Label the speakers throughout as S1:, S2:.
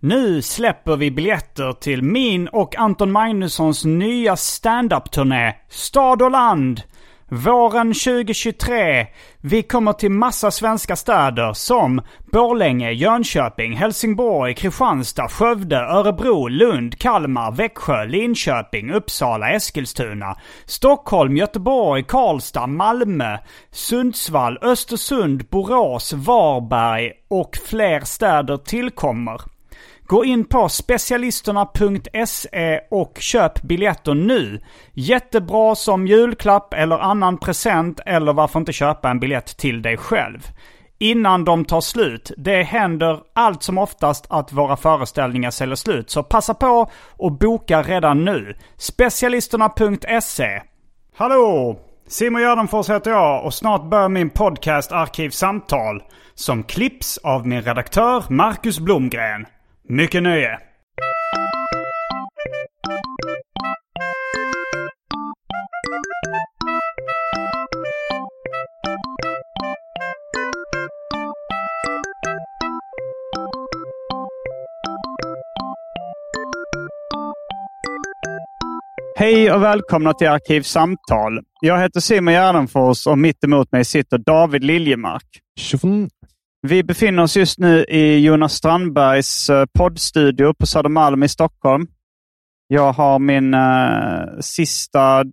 S1: Nu släpper vi biljetter till min och Anton Magnussons nya standup-turné Stad och land. Våren 2023. Vi kommer till massa svenska städer som Borlänge, Jönköping, Helsingborg, Kristianstad, Skövde, Örebro, Lund, Kalmar, Växjö, Linköping, Uppsala, Eskilstuna, Stockholm, Göteborg, Karlstad, Malmö, Sundsvall, Östersund, Borås, Varberg och fler städer tillkommer. Gå in på specialisterna.se E och köp biljetter nu. Jättebra som julklapp eller annan present eller varför inte köpa en biljett till dig själv. Innan de tar slut. Det händer allt som oftast att våra föreställningar säljer slut. Så passa på och boka redan nu. Specialisterna.se Hallå! Simon Gärdenfors heter jag och snart börjar min podcast Arkivsamtal. Som klipps av min redaktör Marcus Blomgren. Mycket nöje! Hej och välkomna till Arkivsamtal. Jag heter Simon Gärdenfors och mitt emot mig sitter David Liljemark.
S2: Tjofn.
S1: Vi befinner oss just nu i Jonas Strandbergs eh, poddstudio på Södermalm i Stockholm. Jag har min eh, sista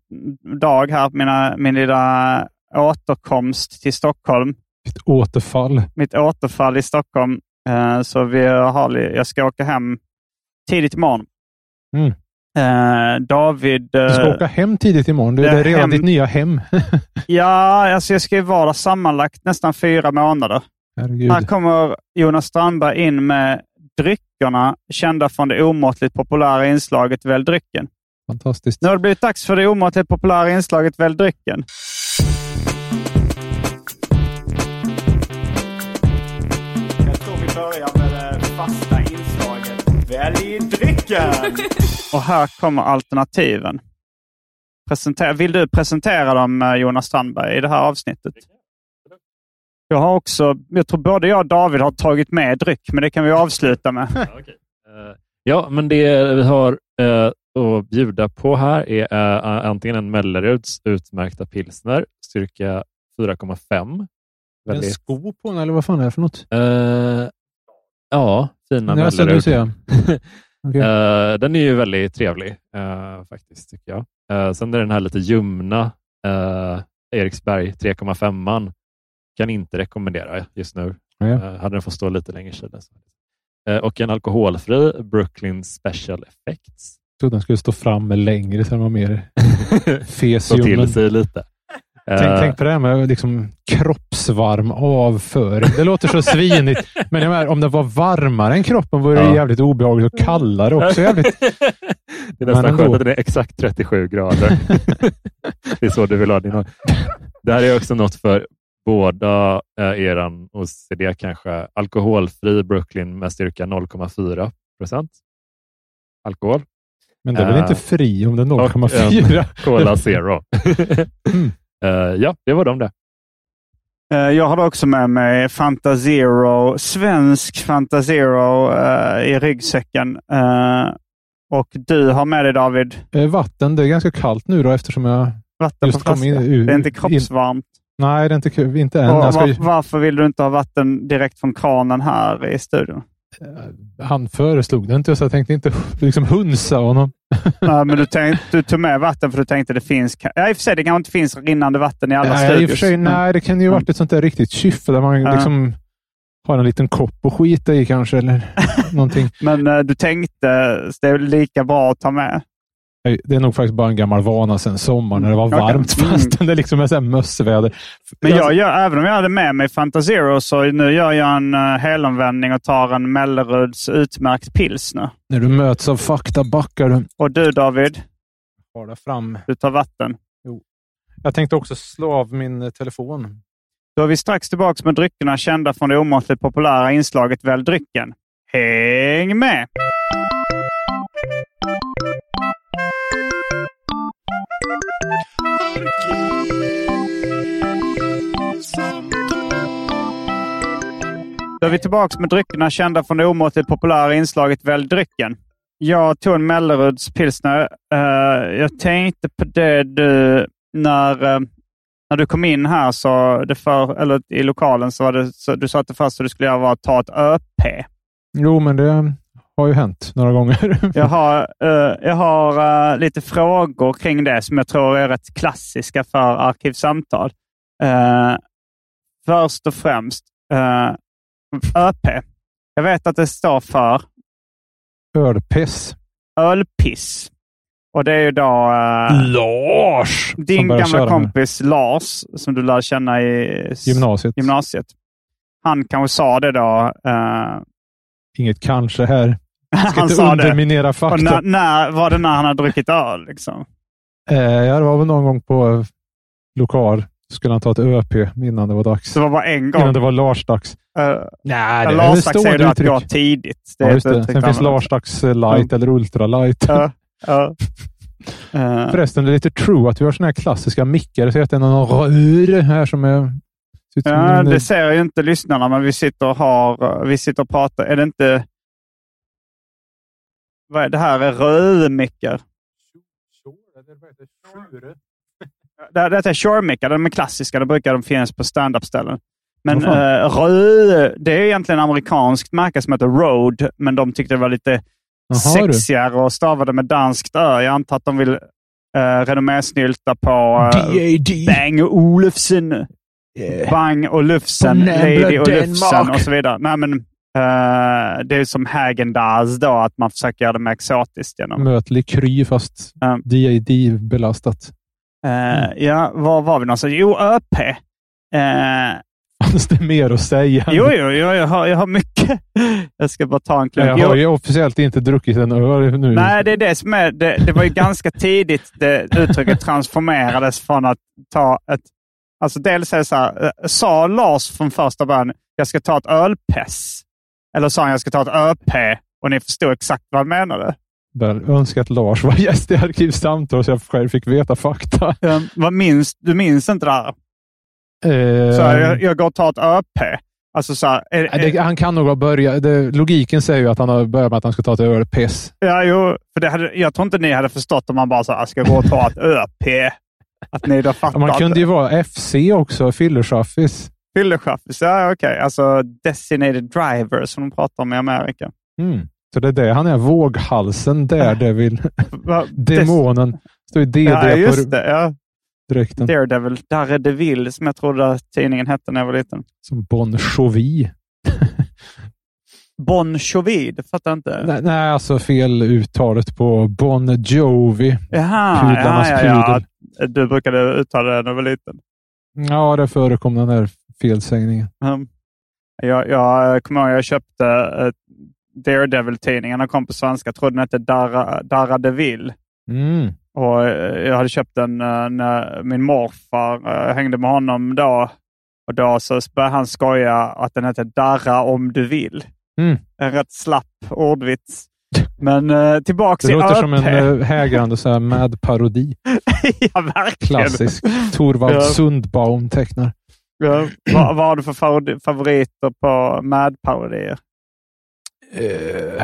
S1: dag här, mina, min lilla återkomst till Stockholm.
S2: Ett återfall.
S1: Mitt återfall i Stockholm. Eh, så vi har, li- jag ska åka hem tidigt imorgon.
S2: Mm.
S1: Eh, David... eh,
S2: Du ska åka hem tidigt imorgon. Du,
S1: det
S2: det
S1: är
S2: är redan
S1: hem.
S2: ditt nya hem.
S1: Ja, alltså jag ska ju vara där sammanlagt nästan fyra månader.
S2: Herregud.
S1: Här kommer Jonas Strandberg in med dryckerna kända från det omåttligt populära inslaget Välj drycken.
S2: Fantastiskt.
S1: Nu har det blivit dags för det omåttligt populära inslaget Välj drycken. Jag tror vi börjar med det fasta inslaget Välj drycken! Och här kommer alternativen. Presentera, vill du presentera dem, eh, Jonas Strandberg, i det här avsnittet? Jag har också, jag tror både jag och David har tagit med dryck, men det kan vi avsluta med.
S3: Eh, Ja, men det vi har eh, att bjuda på här är eh, antingen en Melleruds utmärkta pilsner, styrka 4,5.
S2: en
S3: Väldigt,
S2: sko på den, eller vad fan är det för något?
S3: eh, ja, fina
S2: Nej, alltså, nu
S3: Mellerud.
S2: ser jag. Okej.
S3: Eh, den är ju väldigt trevlig eh, faktiskt, tycker jag. Eh, sen är den här lite ljumna eh, Eriksberg 3,5an. Kan inte rekommendera just nu.
S2: Ja, ja.
S3: Eh, hade den fått stå lite längre sedan. Eh, och en alkoholfri Brooklyn Special Effects.
S2: trodde den skulle stå fram längre, så den var mer fes
S3: Slå
S2: i ljummen.
S3: till sig lite.
S2: Tänk,
S3: Eh,
S2: tänk på det här med liksom kroppsvarm avföring. Det låter så svinigt, men jag menar, om den var varmare än kroppen vore det
S3: Ja.
S2: jävligt obehagligt och kallare också. Jävligt.
S3: Eh, det är nästan
S2: Men
S3: skönt
S2: ändå.
S3: att den är exakt 37 grader. det är så du vill ha din Det här är också något för båda eh, eran OCD kanske. Alkoholfri Brooklyn med styrka 0,4 procent alkohol.
S2: Men den är väl
S3: Eh,
S2: inte fri om den är
S3: och en
S2: 0,4?
S3: Cola Zero.
S2: Mm.
S3: Eh, ja, det var de det.
S1: Eh, Jag har också med mig Fanta Zero, svensk Fanta Zero eh, i ryggsäcken. Eh, och du har med dig David
S2: Eh, Vatten, det är ganska kallt nu då eftersom jag
S1: vatten
S2: Just
S1: på flaska.
S2: kom in- ur-
S1: det är inte
S2: in-
S1: kroppsvarmt.
S2: Nej, det är inte kul. Inte än.
S1: Och
S2: Jag ska
S1: var,
S2: ju,
S1: Varför vill du inte ha vatten direkt från kranen här i studion?
S2: han föreslog det inte, så jag tänkte inte liksom hunsa honom.
S1: Nej, Eh, men du, tänkte, du tog med vatten för du tänkte det finns... ka- Ja, i och för sig, det kanske inte finns rinnande vatten i alla
S2: Nej, i
S1: studios.
S2: och för sig,
S1: Men-
S2: nej, det kan ju varit ett sånt där riktigt kyffe där man
S1: Ja.
S2: liksom har en liten kopp och skita i kanske, eller någonting.
S1: Men eh, du tänkte det är lika bra att ta med.
S2: Nej, Det är nog faktiskt bara en gammal vana sedan sommaren när det var
S1: Okej.
S2: varmt
S1: Mm.
S2: fastän det liksom är så här mössväder.
S1: Men
S2: Alltså-
S1: jag gör, även om jag hade med mig Fanta Zero så nu gör jag en uh, helomvändning och tar en Melleruds utmärkt pilsner.
S2: När du möts av fakta backar du.
S1: Och du David,
S2: Bara fram.
S1: du tar vatten.
S2: Jag tänkte också slå av min eh, telefon.
S1: Då är vi strax tillbaka med dryckerna kända från det omåttligt populära inslaget Välj drycken. Häng med! Då är vi tillbaka med dryckerna kända från det omåttligt populära inslaget Välj drycken. Jag tog en Melleruds pilsner. Eh, jag tänkte på det du, när, eh, när du kom in här så det för, eller i lokalen så var det, så, du sa att det första du skulle göra var att ta ett ÖP.
S2: Jo, men det har ju hänt några gånger.
S1: Jag har, eh, jag har eh, lite frågor kring det som jag tror är rätt klassiska för arkivsamtal. Eh, först och främst, eh, ÖP. Jag vet att det står för
S2: Ölpiss.
S1: ölpiss. Och det är ju då eh,
S2: Lars! Mm, som
S1: din
S2: börjar
S1: gamla
S2: köra
S1: kompis Lars, som du lär känna i s-
S2: nu. Gymnasiet.
S1: gymnasiet. Han kanske sa det då. eh,
S2: Inget kanske här. Ska
S1: han
S2: inte
S1: sa det.
S2: underminera
S1: Och
S2: fakta.
S1: när, när var det när han hade druckit öl? Liksom?
S2: Eh, ja, det var väl någon gång på eh, lokal. Skulle han ta ett ÖP innan det var dags.
S1: Så det var bara en gång.
S2: Innan det var Lars-dags.
S1: Eh,
S2: Nej,
S1: en
S2: det är ett
S1: Larsax säger
S2: stående
S1: du att
S2: uttryck.
S1: gå tidigt.
S2: Ja,
S1: är
S2: just
S1: ett
S2: det.
S1: uttryck
S2: Sen finns
S1: han använder.
S2: Lars-dags eh, light eller ultralight.
S1: Ja, ja. Eh,
S2: Förresten, det är lite true att vi har såna här klassiska mickar. Jag ser att det är någon rör här som är... ser ut som
S1: ja,
S2: en, eh,
S1: det ser ju inte lyssnarna, men vi sitter och, har, vi sitter och pratar. Är det inte... Vad är det här? Är rödmickar? Det- Detta är Shore-mickar. De är klassiska. De brukar de finnas på stand-up-ställen. Men
S2: Vad fan?
S1: eh, röd, det är egentligen ett amerikanskt märke som heter Road, men de tyckte det var lite
S2: Jaha, du.
S1: sexigare och stavade med danskt ö. Jag antar att de vill eh, renommésnylta på eh,
S2: D.A.D.
S1: Bang Olufsen, Bang Olufsen,
S2: Eh. På Näbla,
S1: Lady Olufsen
S2: Danmark.
S1: och så vidare. Nej, men, eh, det är som Häagen-Dazs då, att man försöker göra det mer exotiskt. Genom.
S2: Möt Likry fast
S1: Ja.
S2: D.A.D. belastat.
S1: Eh, ja, var var vi någonstans? Jo, ÖP. Eh,
S2: Fanns det mer att säga?
S1: jo, jo, jo jag, har, jag har mycket. Jag ska bara ta en klunk.
S2: jag
S1: Jo.
S2: har ju officiellt inte druckit en öl nu.
S1: Nej, det är det som är. Det, det var ju ganska tidigt det uttrycket transformerades från att ta ett... Alltså dels är det så här, eh, sa Lars från första början jag ska ta ett ölpess? Eller sa han jag ska ta ett ÖP? Och ni förstod exakt vad han menade.
S2: Väl, önskar att Lars var gäst i Arkivsamtal så jag själv fick veta fakta.
S1: Um, vad minns, du minns inte det här?
S2: Eh,
S1: Så här, jag, jag går och tar ett ÖP. Alltså så här, är,
S2: nej, det, han kan nog ha börjat... Det, logiken säger ju att han har börjat med att han ska ta ett ölpiss.
S1: ja, jo, för det hade, jag tror inte ni hade förstått om man bara sa jag ska gå och ta ett ÖP. Att ni då fattat.
S2: Man kunde ju vara FC också, fyllerchaffis.
S1: Fyllechaffis, ja okej. Alltså designated driver som de pratar om i Amerika.
S2: Mm. Så det är det han är. Våghalsen där, det vill
S1: Va-
S2: demonen. Står ju DD
S1: des- Ja, just
S2: på
S1: det. Ja.
S2: dräkten.
S1: Daredevil, Daredevil som jag trodde att tidningen hette när jag var liten.
S2: Som Bon Jovi.
S1: Bon Jovi, det fattar jag inte.
S2: Nej, nej, alltså fel uttalet på Bon Jovi.
S1: Jaha,
S2: Pudlarnas
S1: ja, ja, ja. Du brukade uttala det när du var liten.
S2: Ja, det förekom den där felsägningen.
S1: Um, jag, jag eh, kommer ihåg jag köpte eh, Daredevil-tidningen och kom på svenska. Trodde den hette Dara, Daredevil.
S2: Mm.
S1: Och eh, jag hade köpt den eh, när min morfar eh, hängde med honom då. Och då så började han skoja att den hette Darra om du vill.
S2: Mm.
S1: En rätt slapp ordvits. Men eh, tillbaka
S2: Det
S1: till
S2: låter
S1: ÖP.
S2: som en eh, hägrande så här mad parodi.
S1: ja, verkligen.
S2: Klassisk. Torvald
S1: Ja.
S2: Sundbaum tecknar.
S1: Ja, vad, vad har du för favori- favoriter på Mad-parodier?
S2: Eh,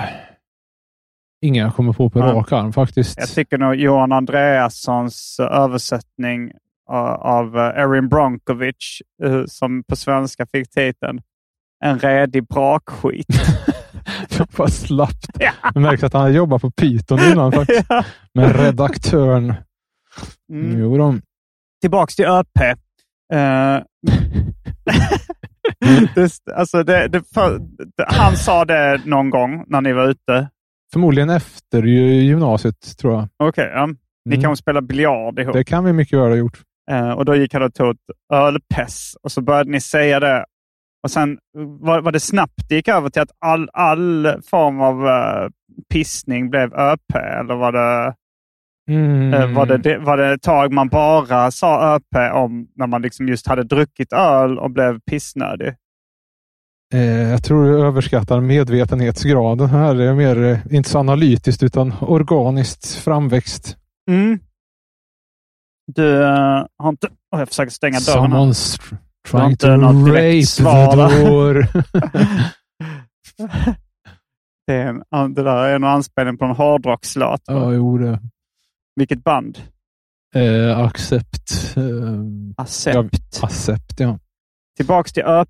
S2: Inga jag kommer på på
S1: Ja.
S2: rak arm faktiskt.
S1: Jag tycker nog Johan Andreassons eh, översättning av eh, Erin Bronkovich eh, som på svenska fick titeln En redig brakskit.
S2: Fan, Vad slappt. Jag märkte att han jobbat på Python innan faktiskt.
S1: Ja.
S2: Men redaktören.
S1: Mm.
S2: Jo då.
S1: Tillbaks till ÖP. Eh, det, alltså det, det, för, det, han sa det någon gång när ni var ute.
S2: Förmodligen efter ju- gymnasiet tror jag.
S1: Okej, ja. ni
S2: Mm.
S1: kanske spelar biljard ihop.
S2: Det kan vi mycket väl ha gjort.
S1: Eh, och då gick han och tog ett ölpess och så började ni säga det. Och sen var, var det snabbt det gick över till att all, all form av eh, pissning blev ÖP. Eller var det,
S2: Mm.
S1: eh, var, det, det, var det ett tag man bara sa ÖP om när man liksom just hade druckit öl och blev pissnödig?
S2: Eh, jag tror du överskattar medvetenhetsgraden här. Det är mer, eh, inte så analytiskt, utan organiskt framväxt.
S1: Mm. Du eh, har inte... Oh, jag försöker stänga dörren. här.
S2: Someone's tr- trying
S1: inte
S2: to
S1: något direkt
S2: rape
S1: svar, va?
S2: the door.
S1: Det, är en, ja, det där är en anspelning på en hårdrockslåt.
S2: ja, jo det.
S1: Vilket band?
S2: Eh, accept. Eh,
S1: Accept.
S2: Jag- accept, ja.
S1: Tillbaks till ÖP.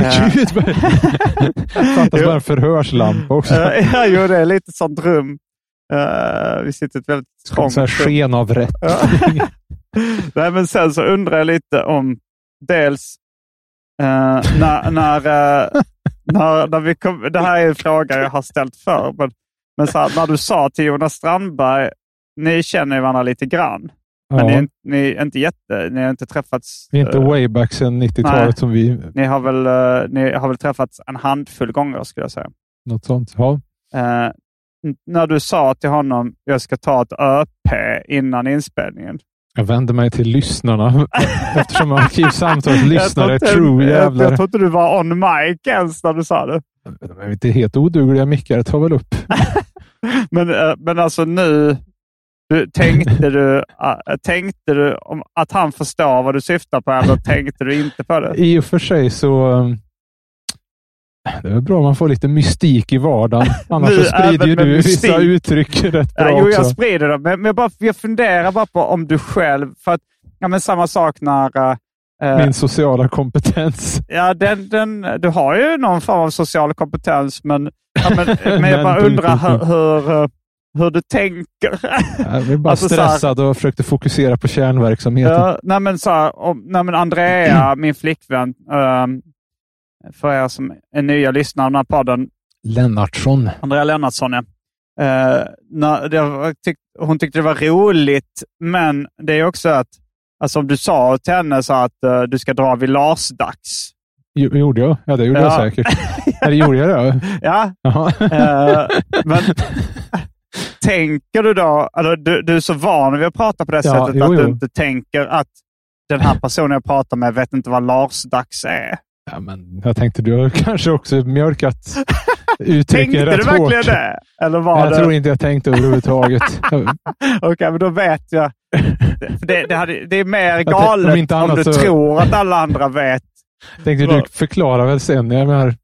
S1: Eh,
S2: Gud, vad- Fattas bara en förhörslampa också.
S1: Eh, ja, jo, det är lite sånt rum. Eh, vi sitter i ett väldigt
S2: En
S1: trångt
S2: sån här
S1: rum.
S2: skenavrätt.
S1: Ja. Nej, men sen så undrar jag lite om dels eh, när, när, eh, när, när vi kom, det här är en fråga jag har ställt förr, men, men så här, när du sa till Jonas Strandberg, ni känner ju varandra lite grann, men ni, är
S2: Ja.
S1: inte- ni är inte jätte, ni har inte träffats,
S2: Vi är inte
S1: eh,
S2: wayback sedan 90-talet
S1: Nej.
S2: som vi...
S1: ni, har väl, eh, ni har väl träffats en handfull gånger skulle jag säga.
S2: Något sånt. Ja.
S1: Eh, n- när du sa till honom jag ska ta ett ÖP innan inspelningen.
S2: Jag vänder mig till lyssnarna eftersom arkivsamtalets lyssnare är
S1: jag, tror inte-
S2: true
S1: jag, jag
S2: jävlar.
S1: tror inte du var on mic ens när du sa det.
S2: De är inte helt odugliga mickar. Ta väl upp.
S1: Men, eh, men alltså nu, du, tänkte, du, eh, tänkte du om, att han förstår vad du syftar på eller tänkte du inte på det?
S2: I och för sig så... um, Det är väl bra om man får lite mystik i vardagen. Annars
S1: Nu,
S2: så sprider
S1: även
S2: ju
S1: med
S2: du vissa
S1: mystik.
S2: uttryck rätt
S1: Ja,
S2: bra
S1: jo, jag
S2: också.
S1: sprider det. Men, men jag, bara, jag funderar bara på om du själv... För att, ja, men samma sak när... eh, eh,
S2: Min sociala kompetens.
S1: Ja, den, den, du har ju någon form av social kompetens, men, ja, men, men jag
S2: Men
S1: bara
S2: punkt,
S1: undrar hur,
S2: punkt,
S1: hur, eh, hur du tänker.
S2: Jag blev bara
S1: Alltså, så här-
S2: stressad och försökte fokusera på kärnverksamheten.
S1: Ja, nej, men så här, om, nej, men Andrea, min flickvän, ehm, för er som är nya lyssnare av den här podden,
S2: Lennartsson.
S1: Andrea Lennartsson, ja. Eh, när, det, var- tyck, hon tyckte det var roligt, men det är också att, alltså om du sa till henne så att eh, du ska dra vid Lars-dags.
S2: Jo, gjorde jag? Ja, det gjorde
S1: Ja.
S2: jag säkert. Eller gjorde jag det?
S1: Ja,
S2: Jaha.
S1: Eh, men tänker du då, eller du, du är så van vid att prata på det
S2: Ja,
S1: sättet
S2: jo,
S1: att du
S2: jo.
S1: inte tänker att den här personen jag pratar med vet inte vad Lars-dags är.
S2: Ja, men jag tänkte du har kanske också mjölkat
S1: Tänkte
S2: uttrycken
S1: du
S2: rätt
S1: verkligen
S2: hårt.
S1: det? Eller var
S2: Jag
S1: det...
S2: tror inte jag tänkte överhuvudtaget. Jag-
S1: Okej, men då vet jag. För det, det, hade, det är mer
S2: tänkte-
S1: galet
S2: om
S1: om,
S2: inte annat
S1: du
S2: så-
S1: tror att alla andra vet
S2: tänkte du
S1: Vad?
S2: förklara väl sen. Jag menar,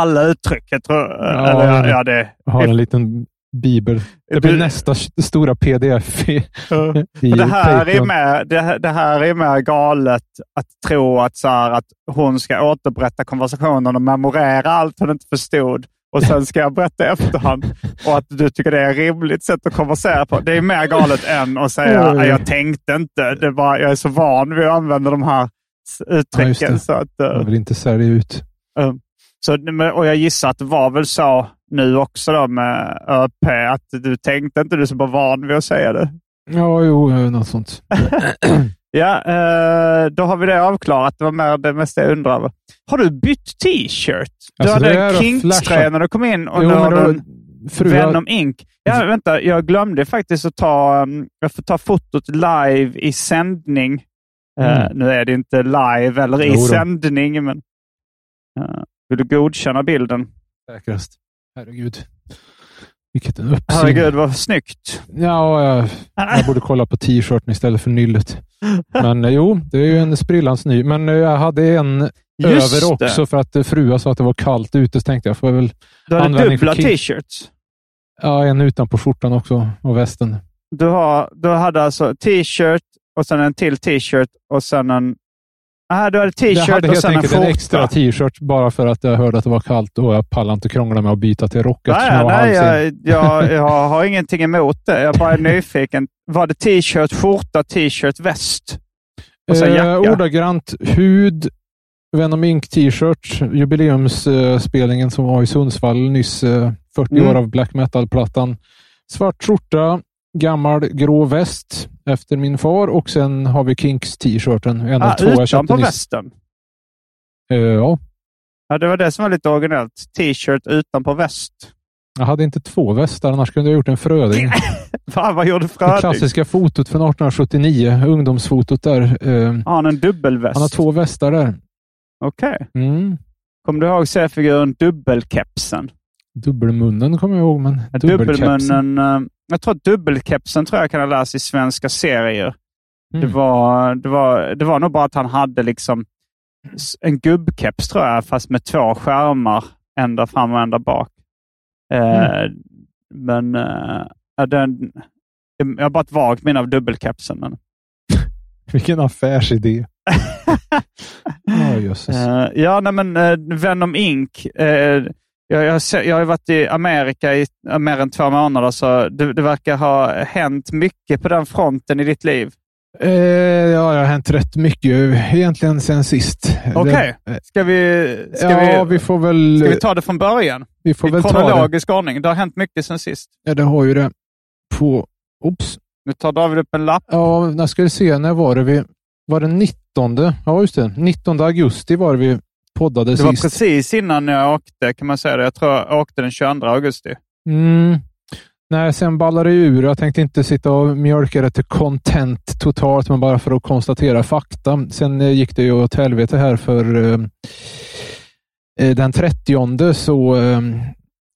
S1: alla uttryck. Jag tror,
S2: Ja,
S1: eller, ja,
S2: men-
S1: ja, det,
S2: jag har en liten bibel. Det blir nästa s- stora pdf i, i
S1: Men det här, är
S2: Patreon.
S1: mer, det, det här är mer galet att tro att, så här, att hon ska återberätta konversationen och memorera allt hon inte förstod och sen ska jag berätta i efterhand och att du tycker det är ett rimligt sätt att konversera på. Det är mer galet än att säga
S2: Ja, ja, ja.
S1: att jag tänkte inte. Det var, jag är så van vid att använda de här s- uttrycken.
S2: det.
S1: så att, eh,
S2: Jag vill inte sälja ut.
S1: så, men- och jag gissar att det var väl så nu också då med ÖP, att du tänkte inte, du är så bara van vid att säga det.
S2: Ja, jo, eh, något sånt.
S1: Ja, eh, då har vi det avklarat. Det var mer det mesta jag undrar över. Har du bytt t-shirt? Du
S2: Alltså,
S1: hade
S2: det är
S1: en
S2: att
S1: Kinks-tröja
S2: flasha.
S1: när du kom in och
S2: Jo,
S1: nu
S2: men
S1: har du
S2: då, Alltså-
S1: en
S2: fru, jag,
S1: Venom Ink. Ja, vänta. Jag glömde faktiskt att ta, um, jag får ta fotot live i sändning. Eh,
S2: Mm.
S1: nu är det inte live eller i
S2: Jo då.
S1: sändning, men eh, vill du godkänna bilden?
S2: säkrast. Herregud. Vilket en uppsyn.
S1: Herregud, vad snyggt.
S2: Ja, jag, jag borde kolla på t-shirten istället för nyllet. Men eh, jo, det är ju en sprillans ny. Men eh, jag hade en
S1: Just
S2: över
S1: det.
S2: också för att eh, frua sa att det var kallt ute. Så tänkte jag, får jag väl
S1: Du har
S2: Användning för
S1: dubbla
S2: Kinks.
S1: t-shirts.
S2: ja, en utanpå skjortan också och västen.
S1: Du, har, du hade alltså t-shirt och sen en till t-shirt och sen en... Ah, du hade
S2: Jag
S1: t-shirt
S2: hade
S1: och
S2: helt
S1: sen en
S2: enkelt
S1: skjorta.
S2: en extra t-shirt bara för att jag hörde att det var kallt och jag pallade inte krångla med att byta till rock eftersom
S1: Nej,
S2: jag var
S1: nej
S2: halvsen.
S1: jag, jag, jag har ingenting emot det. Jag bara är nyfiken. Var det t-shirt, skjorta, t-shirt, väst? Och sen jacka?
S2: Eh, ordagrant hud, Venom Ink t-shirt, jubileumsspelningen som var i Sundsvall nyss, eh, 40
S1: Mm.
S2: år av black metal-plattan. Svart skjorta, gammal grå väst efter min far och sen har vi Kinks t-shirten. En av
S1: Ah,
S2: två jag
S1: utan
S2: köpte
S1: på
S2: nyss.
S1: västen.
S2: Eh, ja,
S1: Ja, det var det som var lite originellt. T-shirt utan på väst.
S2: jag hade inte två västar, annars kunde jag gjort en Fröding.
S1: Fan, vad gjorde
S2: Det
S1: Fröding?
S2: klassiska fotot från 1879, ungdomsfotot där. Eh,
S1: Har han en dubbelväst?
S2: han har två västar där.
S1: Okej.
S2: Mm.
S1: Kommer du ihåg C-figuren Dubbelkepsen?
S2: Dubbelmunnen kommer jag ihåg, men dubbelkepsen.
S1: Dubbelmunnen. eh, Jag tror att dubbelkepsen tror jag kan ha läst i svenska serier.
S2: Mm.
S1: Det, var, det, var, det var nog bara att han hade liksom s- en gubbkeps tror jag, fast med två skärmar. En där fram och en där bak. Eh, Men eh, ja, den, jag har bara ett vagt minne av dubbelkepsen. Men,
S2: Vilken affärsidé. Ja, jösses.
S1: Eh, ja, nej, men eh, Venom Inc. eh, jag, jag, har se- jag har ju varit i Amerika i eh, mer än två månader, så det, det verkar ha hänt mycket på den fronten i ditt liv.
S2: Eh, ja, det har hänt rätt mycket egentligen sen sist.
S1: Okej.
S2: Det- eh,
S1: Ska vi, ska
S2: Ja,
S1: vi,
S2: vi får väl,
S1: ska vi
S2: vi
S1: ta det från början?
S2: får
S1: I
S2: väl ta det.
S1: kronologisk ordning. Det har hänt mycket sen sist.
S2: Ja, det har ju det. På, oops.
S1: Nu tar David upp en lapp.
S2: Ja, när ska vi se, när var det vi? Var det 19? Ja, just det. 19 augusti var det vi poddade
S1: Det
S2: sist.
S1: var precis innan jag åkte, kan man säga det. Jag tror jag åkte den 22 augusti.
S2: Mm. Nej, sen ballade det ur. Jag tänkte inte sitta och mjölka det till content totalt, men bara för att konstatera fakta. Sen eh, gick det ju åt helvete här för eh, eh, den 30 så eh,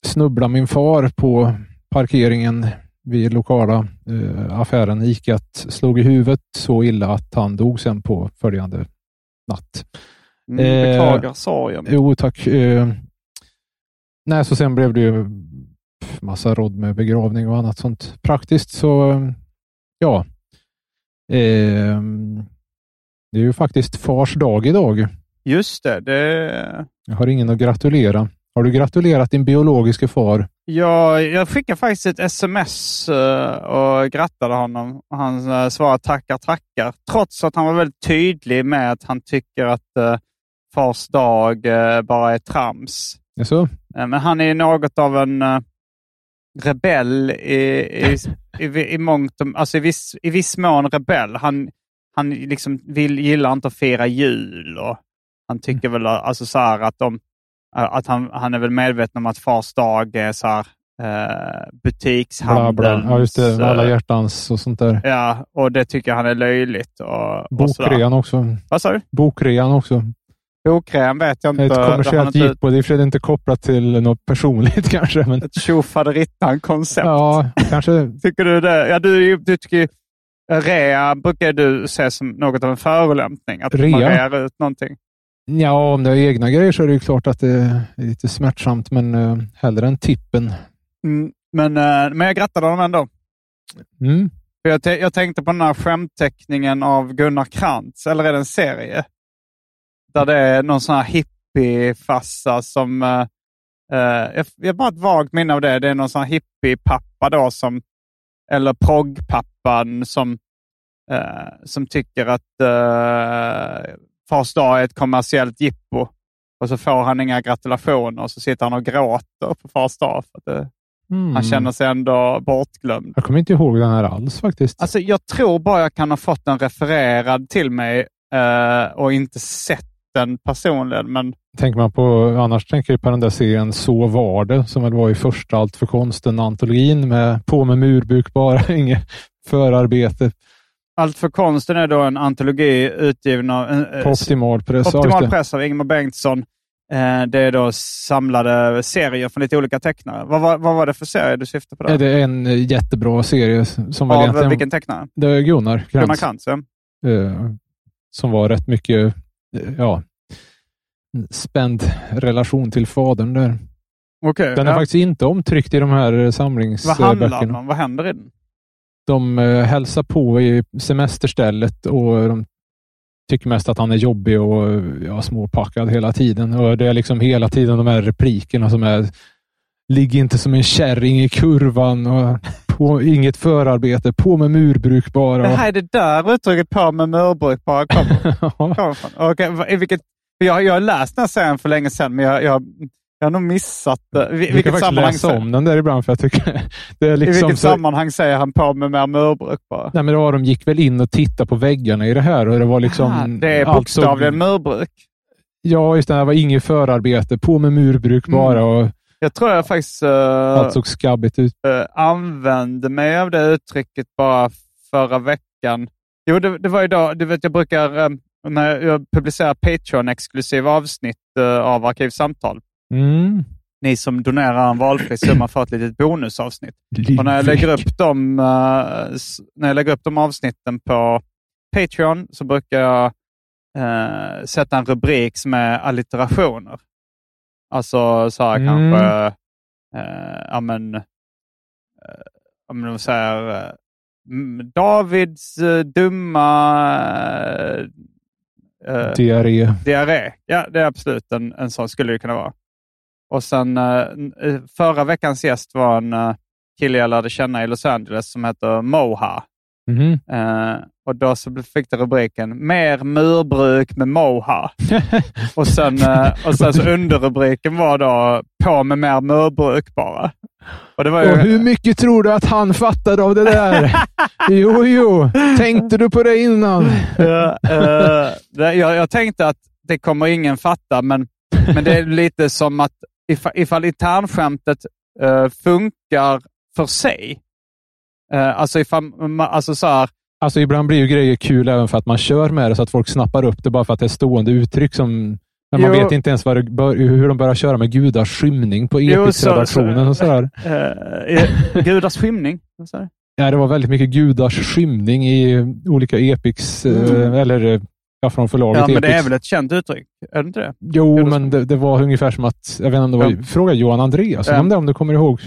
S2: snubblade min far på parkeringen vid lokala eh, affären Icat. Slog i huvudet så illa att han dog sen på följande natt.
S1: Mm,
S2: Eh,
S1: Beklagar sorgen.
S2: Jo, tack. Eh, nej, så sen blev det ju massa råd med begravning och annat sånt praktiskt. Så eh, ja. Eh, det är ju faktiskt fars dag idag.
S1: Just det. det
S2: Jag har ingen att gratulera. Har du gratulerat din biologiska far?
S1: jag, jag skickade faktiskt ett sms eh, och grattade honom. Och Han eh, svarade tackar, tackar. Trots att han var väldigt tydlig med att han tycker att eh, fars dag eh, bara är trams.
S2: Alltså,
S1: Eh, Men han är ju något av en eh, rebell i, i, i, i, mångt, och- alltså i, viss, i viss mån rebell. Han, han liksom vill, gillar inte att fira jul och han tycker
S2: Mm.
S1: väl alltså så här att, de, eh, att han, han är väl medveten om att fars dag är så här, eh,
S2: bla,
S1: butikshandelns...
S2: bla. Ja, just det. Alla
S1: eh,
S2: hjärtans och sånt där.
S1: ja, och det tycker han är löjligt. Och, och så där.
S2: Bokrean också.
S1: Vad sa du?
S2: Bokrean också.
S1: Bokrean vet jag inte.
S2: Ett
S1: Det har han
S2: kommersiellt
S1: inte-
S2: jippo. Det är i och för sig inte kopplat till något personligt kanske. Men,
S1: Ett tjofaderittan-koncept.
S2: ja, kanske
S1: Tycker du det? Ja, du, du tycker ju- rea brukar du se som något av en förolämpning. Att man
S2: Rea?
S1: rear ut någonting.
S2: Ja, om det är egna grejer så är det ju klart att det är lite smärtsamt, men eh, hellre än tippen.
S1: Mm, men, eh, men jag grattade honom ändå.
S2: Mm.
S1: För Jag, te- jag tänkte på den här skämtteckningen av Gunnar Krantz, eller är det en serie? Där det är någon sån här hippiefassa som... eh, eh, jag, jag har bara ett vagt minne av det. Det är någon sån här hippiepappa då som... Eller proggpappan som, eh, som tycker att uh, Fars dag är ett kommersiellt jippo. Och så får han inga gratulationer och så sitter han och gråter på Fars dag. För att, eh,
S2: Mm.
S1: Han känner sig ändå bortglömd.
S2: Jag kommer inte ihåg den här alls faktiskt.
S1: Alltså, jag tror bara jag kan ha fått den refererad till mig eh, och inte sett den personligen. Men
S2: Tänker man på, annars tänker jag på den där serien Så var det, som väl var i första Allt för konsten-antologin med på med murbuk bara, inget förarbete
S1: Allt för konsten är då en antologi utgiven av eh,
S2: på optimal press. Ja, just
S1: Optimal
S2: det.
S1: press av Ingmar Bengtsson. Eh, det är då samlade serier från lite olika tecknare. Vad, var- vad var det för serie du syftade på? Där?
S2: Nej, Det är en eh, jättebra serie som väl
S1: av
S2: egentligen...
S1: vilken tecknare?
S2: Det är Gunnar Krantz.
S1: Gunnar Krantz? ja.
S2: eh, som var rätt mycket eh, ja, spänd relation till fadern där.
S1: Okej.
S2: Den är
S1: ja.
S2: faktiskt inte omtryckt i de
S1: Vad
S2: här eh,
S1: handlar den
S2: samlingsböckerna.
S1: om? Vad händer i den?
S2: De eh, hälsar på i semesterstället och eh, de tycker mest att han är jobbig och eh, ja, småpackad hela tiden. Och Det är liksom hela tiden de här replikerna som är Ligg inte som en kärring i kurvan och på, inget förarbete. På med murbruk bara.
S1: Det här är det där uttrycket på med murbruk bara kommer.
S2: Ja.
S1: kommer ifrån. Och, eh, i vilket, jag, jag har läst den här serien för länge sedan, men jag, jag, jag har nog missat det. I,
S2: Vi kan
S1: vilket,
S2: faktiskt
S1: sammanhang,
S2: läsa
S1: sä-
S2: om den där ibland för jag tycker det är
S1: i
S2: liksom
S1: vilket
S2: så,
S1: sammanhang säger han på med mer murbruk bara?
S2: Nej, men Aron gick väl in och tittade på väggarna i det här och det var liksom...
S1: Ah, det är
S2: allt såg-
S1: bokstavligen murbruk.
S2: Ja, just det. Det var inget förarbete. På med murbruk
S1: Mm.
S2: bara och
S1: Jag tror jag faktiskt eh,
S2: allt såg skabbigt ut.
S1: eh, använde mig av det uttrycket bara förra veckan. Jo, det, det var ju då, du vet jag brukar, eh, när jag publicerar Patreon-exklusiva avsnitt eh, av Arkivsamtal.
S2: Mm.
S1: Ni som donerar en valfri summa får ett litet bonusavsnitt. Och när jag lägger upp de, eh, s- när jag lägger upp de avsnitten på Patreon så brukar jag eh, sätta en rubrik som är allitterationer. Alltså så här
S2: Mm.
S1: kanske, eh, ja men, eh, ja, men de säger eh, mm, Davids eh, dumma eh, eh,
S2: Diarré.
S1: diarré. Ja, det är absolut en, en sån skulle det kunna vara. Och sen eh, n- eh, förra veckans gäst var en eh, kille jag lärde känna i Los Angeles som heter Moha.
S2: Mhm.
S1: Eh, och då så blev- fick det rubriken Mer murbruk med Moha. Och sen, eh, och sen så underrubriken var då På med mer murbruk bara. Och det var ju...
S2: Och hur mycket tror du att han fattade av det där? jo, jo. Tänkte du på det innan?
S1: Ja, eh, det, jag, jag tänkte att det kommer ingen fatta, men, men det är lite som att ifall, ifall internskämtet eh, funkar för sig. Eh, alltså ifall, ma- alltså så här,
S2: Alltså, ibland blir ju grejer kul även för att man kör med det så att folk snappar upp det bara för att det är stående uttryck som... Men man
S1: Jo.
S2: vet inte ens vad det bör, hur de börjar köra med gudars skymning på
S1: Jo, så-
S2: Epics-redaktionen
S1: så-
S2: och sådär.
S1: eh, eh, gudars skymning. Vad sa du?
S2: Ja, det var väldigt mycket gudars skymning i olika Epics, eh,
S1: Mm.
S2: eller eh, ja, från förlaget
S1: Ja, men
S2: Epics.
S1: det är väl ett känt uttryck? Är det inte det?
S2: Jo,
S1: gudars-
S2: men det, det var ungefär som att, jag vet inte om det var,
S1: Ja.
S2: fråga Johan Andreas
S1: Ja.
S2: om det, om du kommer ihåg.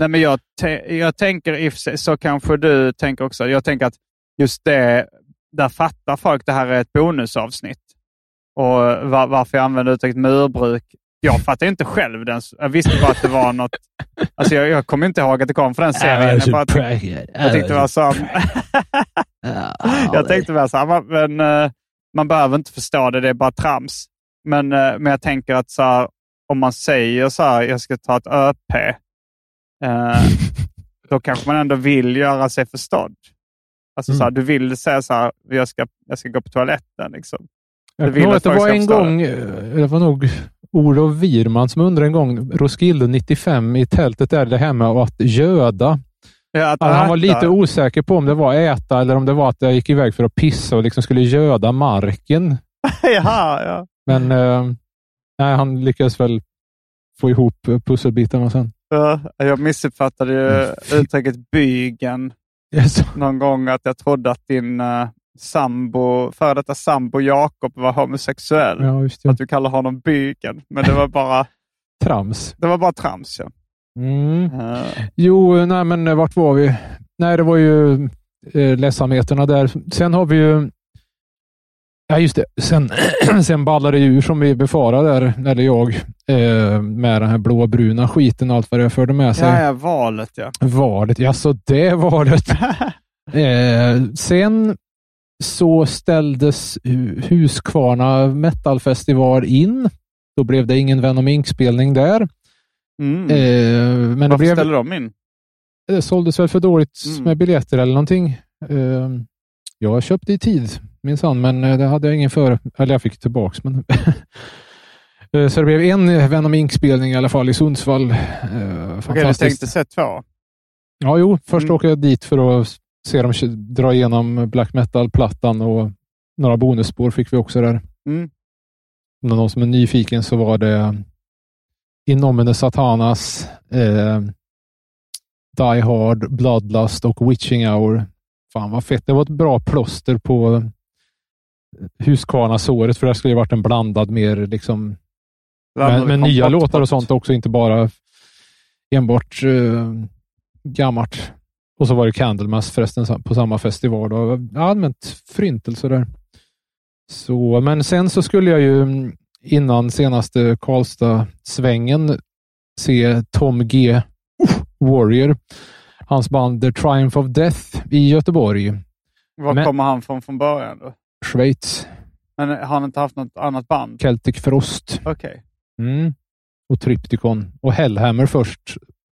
S1: Nej, men jag, te- jag tänker i och för sig, så kanske du tänker också. Jag tänker att just det, där fattar folk det här är ett bonusavsnitt. Och va- varför jag använder uttrycket murbruk. Jag fattar inte själv den. s- Jag visste bara att det var något. Alltså jag, jag kommer inte ihåg att det kom från den serien. Jag, bara, tyck- jag tyckte det var så. jag tänkte bara så här, "Va, men eh, man behöver inte förstå det, det är bara trams. Men, eh, men jag tänker att så här, om man säger så här, jag ska ta ett ÖP. eh, då kanske man ändå vill göra sig förstådd. Alltså så här, du vill säga så här, jag ska, jag ska gå på toaletten. Liksom.
S2: Jag
S1: vill
S2: kommer ihåg
S1: att
S2: att det
S1: folk
S2: var
S1: ska
S2: en
S1: förstå
S2: gång, eh, det var nog Olof Wirman som undrade en gång, Roskilde 95 i tältet där, det här med att göda.
S1: Ja, att
S2: Alltså, han var
S1: äta.
S2: lite osäker på om det var äta eller om det var att jag gick iväg för att pissa och liksom skulle göda marken.
S1: Jaha, ja.
S2: Men eh, nej, han lyckades väl få ihop eh, pusselbitarna sen.
S1: Ja, Jag missuppfattade ju uttrycket bygen
S2: Yes.
S1: någon gång. Att jag trodde att din uh, sambo, före detta sambo Jakob var homosexuell.
S2: Ja, just det.
S1: Att du kallar honom bygen. Men det var bara,
S2: Trams.
S1: det var bara trams. Ja.
S2: Mm.
S1: Eh,
S2: Jo, nej, men eh, vart var vi? Nej, det var ju eh, ledsamheterna där. Sen har vi ju... Ja, just det. Sen, sen ballar det ju ur som vi befarar där, eller jag, eh, med den här blåbruna skiten och allt vad det förde med sig.
S1: ja, ja, valet ja.
S2: Valet, ja så det valet. eh, sen så ställdes Hu- Huskvarna metalfestival in. Då blev det ingen Venom Inc-spelning där.
S1: Mm.
S2: Eh, men det,
S1: Varför
S2: blev,
S1: ställer de in?
S2: det såldes väl för dåligt
S1: Mm.
S2: med biljetter eller någonting. Eh, jag köpte i tid minsann, men eh, det hade jag ingen för... Eller jag fick tillbaks. Men eh, så det blev en Venom Inc-spelning i alla fall i Sundsvall. Eh,
S1: Okej, du
S2: fantastiskt.
S1: tänkte se två.
S2: Ja, jo. Först
S1: Mm.
S2: åker jag dit för att se dem kö- dra igenom black metal-plattan och några bonusspår fick vi också där.
S1: Mm.
S2: Om det är någon som är nyfiken så var det Inomine Satanas, eh, Die Hard, Bloodlust och Witching Hour. Fan vad fett. Det var ett bra plåster på Huskvarna-såret, för det skulle ju varit en blandad mer liksom men, men nya låtar och sånt också, inte bara enbart eh, gammalt. Och så var det Candlemas förresten sam- på samma festival. Och jag har använt förintelser där. Så, men sen så skulle jag ju mm, innan senaste Karlstad-svängen se Tom G. Warrior, hans band The Triumph of Death i Göteborg,
S1: Var
S2: Men-
S1: kommer han från från början då?
S2: Schweiz,
S1: Men eh, har han inte haft något annat band?
S2: Celtic Frost
S1: Okej.
S2: mm. och Trypticon och Hellhammer först.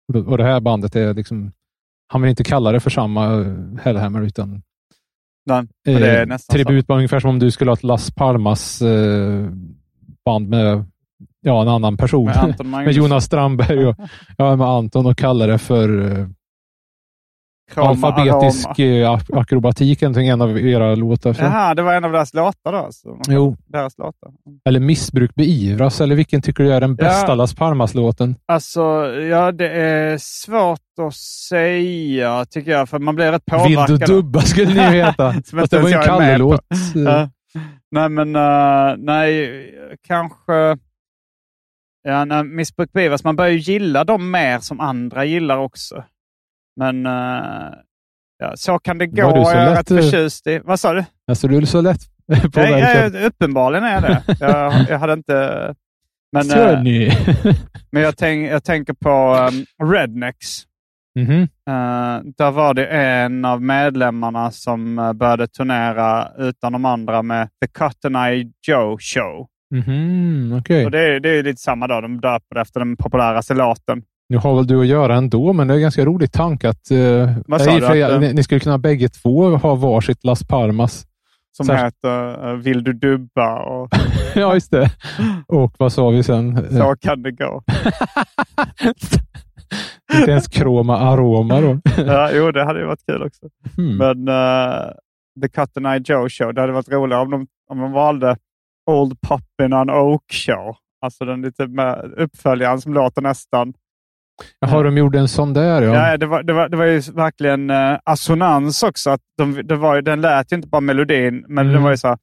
S2: Och då- Och det här bandet är liksom, han vill inte kalla det för samma eh, Hellhammer utan
S1: Nej, för det är
S2: Eh,
S1: nästan
S2: tribut var ungefär som om du skulle ha ett Las Palmas eh, band med ja, en annan person.
S1: så. Med
S2: Med,
S1: Anton Magnusson.
S2: Oh. Jonas Strandberg och ja, med Anton och kallar det för eh,
S1: Kroma
S2: alfabetisk
S1: Aroma.
S2: eh, ak- akrobatik, någonting, en av era låtar. Så.
S1: Jaha, det var en av deras låtar då? Alltså.
S2: Jo,
S1: Deras låtar.
S2: eller missbruk beivras, eller vilken tycker du är den bästa
S1: Ja.
S2: Las Palmas-låten?
S1: Alltså, ja, det är svårt att säga tycker jag, för man blir rätt påverkad.
S2: Vind och dubba skulle ni ju heta.
S1: Som
S2: Fast
S1: inte
S2: det var
S1: ens
S2: ju en
S1: jag är med på.
S2: Kalle-låt. Eh,
S1: Ja. Nej, men eh, nej, kanske... Ja, nej, missbruk beivras. Man börjar ju gilla dem mer som andra gillar också. Men eh, ja, så kan det gå.
S2: Var du så
S1: jag är
S2: lätt,
S1: rätt
S2: eh,
S1: förtjust i. Vad sa du?
S2: Alltså, du är så lätt
S1: Jag,
S2: påverkad.
S1: jag, uppenbarligen är jag det. Jag, jag hade inte... Men, eh,
S2: Sörny.
S1: men jag, tänk, jag tänker på um, Rednecks.
S2: Mhm.
S1: Eh, där var det en av medlemmarna som eh, började turnera utan de andra med The Cotton Eye Joe Show.
S2: Mhm, okej.
S1: Och det, är, det är ju lite samma dag. De döper det efter den populäraste låten.
S2: Nu har väl du att göra ändå, men det är en ganska rolig tanke att, eh,
S1: Vad sa
S2: nej,
S1: du?
S2: för
S1: Att, eh,
S2: ni, ni skulle kunna bägge två ha varsitt Las Palmas.
S1: Som
S2: Särskilt-
S1: heter eh, Vill du dubba? och
S2: ja, just det. Och vad sa vi sen? Eh,
S1: Så kan det gå.
S2: Inte ens kroma aroma då.
S1: ja, jo, det hade ju varit kul också.
S2: Hmm.
S1: Men eh, The Cotton Eye Joe Show, det hade varit roligare om de, om de valde Old Poppin' on Oak Show. Alltså den lite med uppföljaren som låter nästan
S2: Jaha, de gjorde en sån där ja.
S1: Ja, det, var, det, var, det var ju verkligen eh, assonans också. Att de, det var, ju- den lät ju inte bara melodin, men
S2: Mm.
S1: den var ju så här...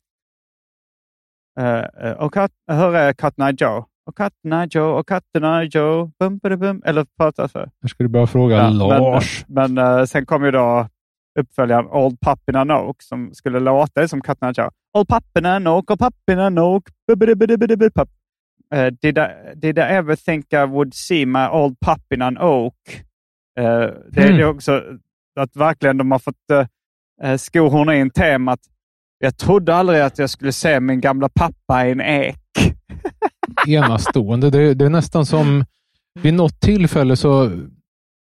S1: eh, eh, och kat, hur är Cotton Eye Joe? Och Cotton Eye Joe, och Cotton Eye Joe, bum, bum, bum, eller prata så.
S2: Jag skulle börja fråga
S1: Ja,
S2: Lars.
S1: Men eh, sen kom ju då uppföljaren Old Pappina Noak som skulle låta som Cotton Eye Joe. Old Pappina Noak, Old Pappina Noak, bu- bu- bu- bu- bu- bu- pap. Eh, did, I, did I ever think I would see my old Pappina Oak? Eh, det är
S2: Mm.
S1: ju också att verkligen de har fått eh, eh, skohorna in temat. Jag trodde aldrig att jag skulle se min gamla pappa i en ek.
S2: Enastående. Det, det är nästan som vid något tillfälle så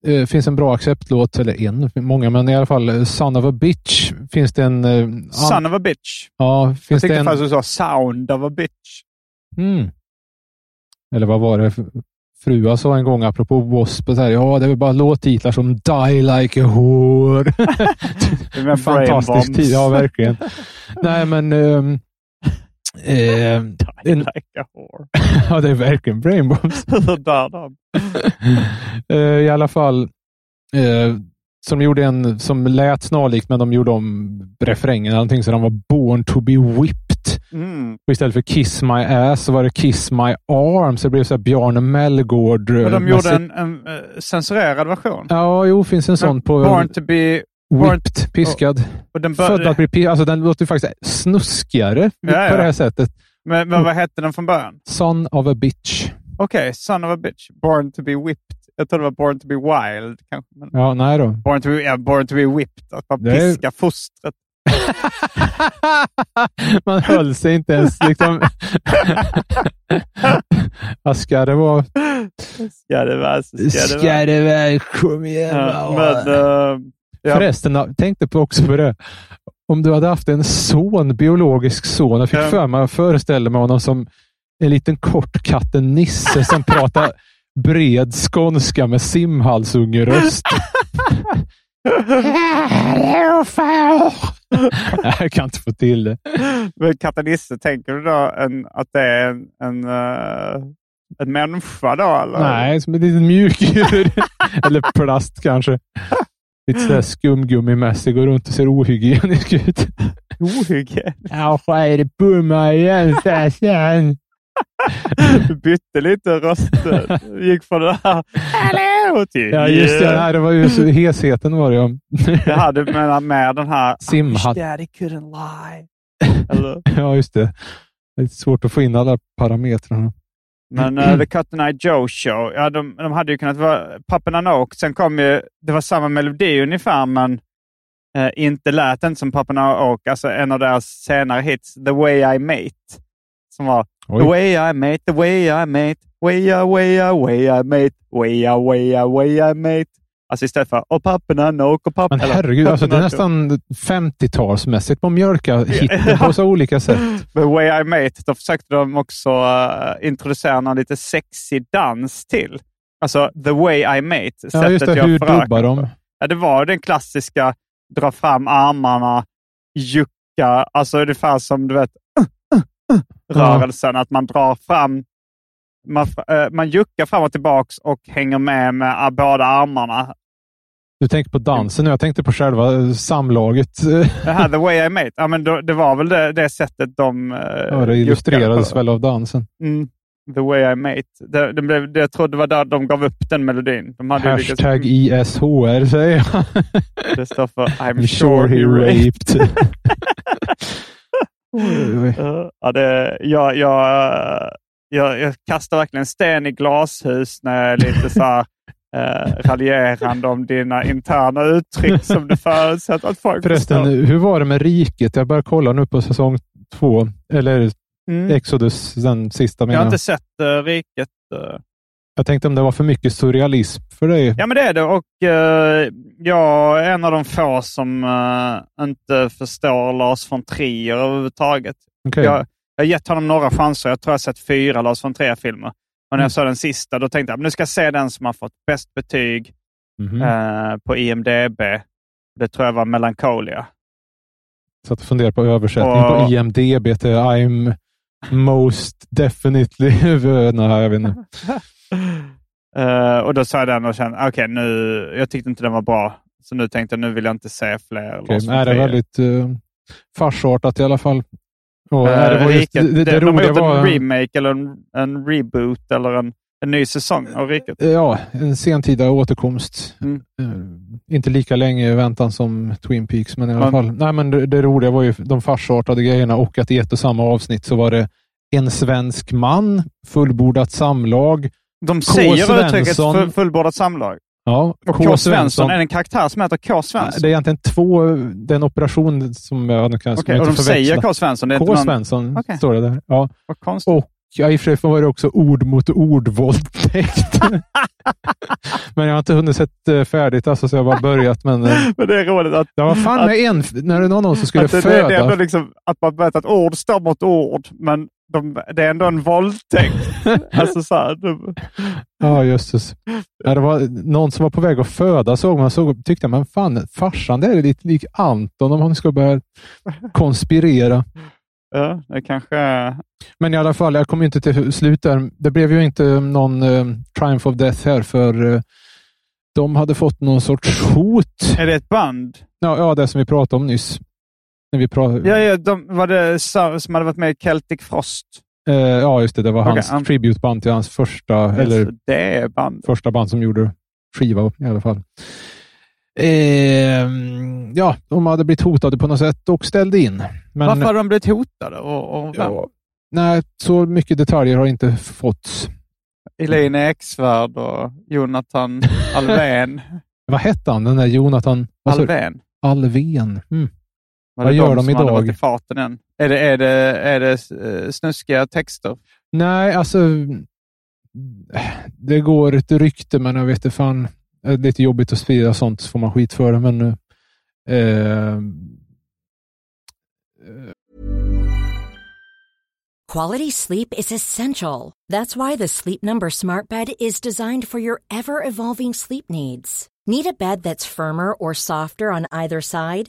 S2: eh, finns en bra acceptlåt, eller en, många, men i alla fall eh, Son of a bitch finns det en... Eh, an-
S1: Son of a bitch.
S2: ja,
S1: Jag
S2: finns det
S1: tyckte
S2: en...
S1: faktiskt du sa sound of a bitch.
S2: Mm. Eller vad var det frua sa en gång apropå W.A.S.P. och Så här, ja, det är väl bara låttitlar som Die Like a Whore.
S1: Det är med brain
S2: Fantastisk
S1: bombs.
S2: tid, ja verkligen. Nej, men... ehm, ehm,
S1: I
S2: en-
S1: like a whore.
S2: ja, det är verkligen brain bombs.
S1: Hur dör de?
S2: Eh, I alla fall, eh, som gjorde en som lät snarlikt, men de gjorde om refrängen eller någonting, så den var Born to be whipped.
S1: Mm.
S2: Och istället för Kiss my ass så var det Kiss my arm, så det blev så här Björn Mellgård. eh,
S1: Och de
S2: mässigt.
S1: gjorde en, en eh, censurerad version.
S2: Ja, jo, finns en sån på
S1: Born to be... Born-
S2: whipped, piskad.
S1: Och den bör-
S2: Född att bli piskad. Alltså, den låter ju faktiskt snuskigare
S1: Ja,
S2: på
S1: ja.
S2: det här sättet.
S1: men, men vad hette den från början?
S2: Son of a bitch.
S1: Okej, Son of a bitch. Born to be whipped. Jag tror det var Born to be wild. Kanske. Men
S2: Ja, nej då.
S1: born, to be, ja, born to be whipped. Att man
S2: Det är-
S1: piskar fostret.
S2: Man höll sig inte ens liksom... Vad ska det vara?
S1: Ska det vara så ska det vara.
S2: det vara? Kom igen.
S1: Ja,
S2: va.
S1: men, eh, ja.
S2: Förresten, jag tänkte på också på det. Om du hade haft en son, biologisk son. Jag fick
S1: Ja.
S2: för mig att föreställa mig honom som en liten kort katten Nisse som pratar bred skånska med simhalsungeröst. Hallå far! Jag kan inte få till det.
S1: men katanisse, tänker du då en, att det är en, en, eh, en människa då? Eller?
S2: Nej, som ett litet mjukdjur. Eller plast kanske. Lite sådär skumgummimässig. Går runt och ser ohygienisk ut.
S1: Ohygge.
S2: Kanske är det bumma igen sen.
S1: Du bytte lite rösten. Gick från det här. Hallå carrot you.
S2: Ja, just det. Nej, det var ju så- hesheten var det ja.
S1: Jag hade med, med den här...
S2: Simhatt.
S1: Daddy couldn't lie. Eller,
S2: Ja, just det. Det är svårt att få in alla parametrarna.
S1: men eh, The Cut and I Joe Show, ja, de, de hade ju kunnat vara Pappen and Oak. Sen kom ju, det var samma melodi ungefär, men eh, inte lät den som Pappen and Oak. Alltså en av deras senare hits, The Way I Mate, som var The
S2: Oj.
S1: way I mate, the way I mate, way I, way I, way I mate, way I, way I, way I mate. Alltså istället för och papporna nok och papporna...
S2: Men herregud, alltså, det är nästan 50-talsmässigt på mjölka hitten på så olika sätt.
S1: The way I mate, då försökte de också eh, introducera någon lite sexig dans till. Alltså the way I mate,
S2: Ja, just det. Hur
S1: förökar
S2: dubbar de?
S1: på. Ja, det var den klassiska dra fram armarna, jucka, alltså ungefär som du vet uh, rörelsen, att man drar fram, man, eh, man juckar fram och tillbaks och hänger med med eh, båda armarna.
S2: Du tänker på dansen nu. Jag tänkte på själva eh, samlaget.
S1: Det här the way I mate, ja, men då, det var väl det, det sättet de eh, alltså.
S2: Ja, det
S1: juckade
S2: illustrerades
S1: på.
S2: väl av dansen.
S1: Mm. The way I mate. Det, det blev, det, jag tror det var där de gav upp den melodin. De hade ju lyckats- Mm,
S2: Hashtag ISHR säger jag.
S1: Det står för I'm
S2: I'm
S1: sure he raped.
S2: Oj, oj.
S1: Eh, Ja, det, jag, jag, eh, jag, jag kastar verkligen sten i glashus när jag är lite så här, eh, raljerande om dina interna uttryck som du förutsätter att folk
S2: Förresten,
S1: förstår.
S2: hur var det med riket? Jag börjar kolla nu på säsong två, eller
S1: Mm.
S2: Exodus, den sista
S1: Jag
S2: menar
S1: har
S2: jag.
S1: inte sett eh, Riket. eh.
S2: Jag tänkte om det var för mycket surrealism för dig.
S1: Ja, men det är det. Och eh, jag är en av de få som eh, inte förstår Lars von Trier överhuvudtaget.
S2: Okej.
S1: Jag, jag har gett honom några chanser. Jag tror jag har sett fyra Lars von Trier-filmer. Och när
S2: Mm.
S1: jag såg den sista, då tänkte jag nu ska jag se den som har fått bäst betyg
S2: Mhm.
S1: eh, på IMDB. Det tror jag var Melancholia.
S2: Satt och funderade på översättning
S1: och-
S2: på IMDB till I'm most definitely... Nej, jag vet inte.
S1: Eh, och då sa jag den och kände, okej, nu, jag tyckte inte den var bra. Så nu tänkte jag, nu vill jag inte se fler
S2: Okej,
S1: Lars
S2: men är det
S1: Trier.
S2: väldigt uh, farsartat i alla fall. Och
S1: Eh,
S2: är det var just, det,
S1: Riket.
S2: det,
S1: de, de har
S2: roliga
S1: gjort
S2: var...
S1: en remake eller en, en reboot eller en, en ny säsong av Riket.
S2: Ja, en sentida återkomst.
S1: Mm.
S2: Eh, inte lika länge i väntan som Twin Peaks, men i alla
S1: Men-
S2: fall. Nej, men det, det roliga var ju de farsartade grejerna och att i ett och samma avsnitt så var det en svensk man, fullbordat samlag.
S1: De säger uttrycket
S2: Svensson.
S1: full, fullbordat samlag.
S2: Ja,
S1: Och K. Svensson är en karaktär som heter K.
S2: Nej,
S1: Svensson.
S2: Det är egentligen två, det är en operation som jag nu kan
S1: Okej,
S2: okay,
S1: och de
S2: inte
S1: säger
S2: förväxla.
S1: K. Svensson. Det är
S2: K.
S1: inte någon...
S2: Svensson
S1: Okej.
S2: står det där. Ja.
S1: Vad konstigt.
S2: Och Ja, i och för sig var det också ord mot ord-våldtäkt. men jag har inte hunnit sett eh, färdigt, alltså, så jag har bara börjat. Men, eh,
S1: Men det är roligt att,
S2: Ja, vad fan
S1: Att-
S2: med en, när det var någon som skulle
S1: att, det, det,
S2: föda.
S1: det är ändå liksom, att man vet att ord står mot ord, men de, det är ändå en våldtäkt. alltså så här, de,
S2: Ja, jösses. Ja, det var någon som var på väg att föda såg man såg, tyckte jag, men fan, farsan där är lite lik Anton om han ska börja konspirera.
S1: ja, det kanske...
S2: Men i alla fall, jag kom ju inte till slut där. Det blev ju inte någon eh, Triumph of Death här, för eh, de hade fått någon sorts hot.
S1: Är det ett band?
S2: Ja, ja det som vi pratade om nyss. När vi pratade,
S1: Ja, ja de, var det sa- som hade varit med i Celtic Frost?
S2: Eh, ja, just det. Det var
S1: Okej,
S2: hans
S1: han-
S2: tributeband till hans första, eller
S1: Alltså, Det är band.
S2: första band som gjorde skiva i alla fall. Ehm, ja, de hade blivit hotade på något sätt och ställde in. Men,
S1: Varför hade de blivit hotade? Och, och
S2: Ja, nej, så mycket detaljer har inte fåtts.
S1: Elaine Eksvärd och Jonathan Alvén.
S2: Vad hette han, den där Jonathan? vad sa du?
S1: Alvén.
S2: Alvén. Mm.
S1: Var
S2: Vad
S1: det
S2: gör de
S1: som hade
S2: idag?
S1: varit i farten än? Är det, är det, är det eh, snuskiga texter?
S2: Nej, alltså. Det går ett rykte, men jag vet inte fan. Eh, Det är lite jobbigt att sprida sånt, så får man skit för det. Men, eh,
S4: Quality sleep is essential. That's why the Sleep Number Smart Bed is designed for your ever evolving sleep needs. Need a bed that's firmer or softer on either side?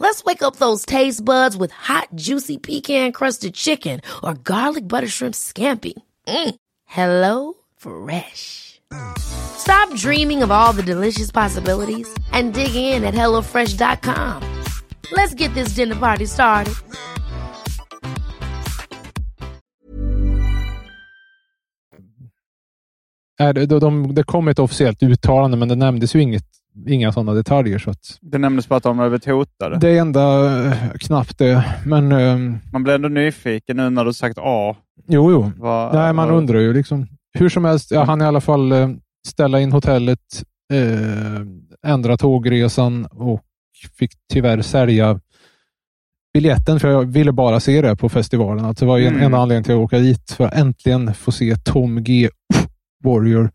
S5: Let's wake up those taste buds with hot, juicy pecan crusted chicken or garlic butter shrimp scampi. Mm. Hello Fresh. Stop dreaming of all the delicious possibilities and dig in at HelloFresh.com. Let's get this dinner party started.
S2: Är det, de, de, det kom ett officiellt uttalande, men det nämndes ju inget, inga sådana detaljer. Så att
S1: Det nämndes bara att de har blivit hotade.
S2: det enda eh, knappt det, men eh,
S1: Man blir ändå nyfiken nu när du sagt A.
S2: jo, jo.
S1: Vad-
S2: Nej, man
S1: vad-
S2: undrar ju liksom. Hur som helst, ja, han i alla fall eh, ställa in hotellet, eh, ändra tågresan och fick tyvärr sälja biljetten för jag ville bara se det på festivalen. Alltså, det var ju en,
S1: Mm.
S2: en anledning till att åka dit för att äntligen få se Tom G. Warrior.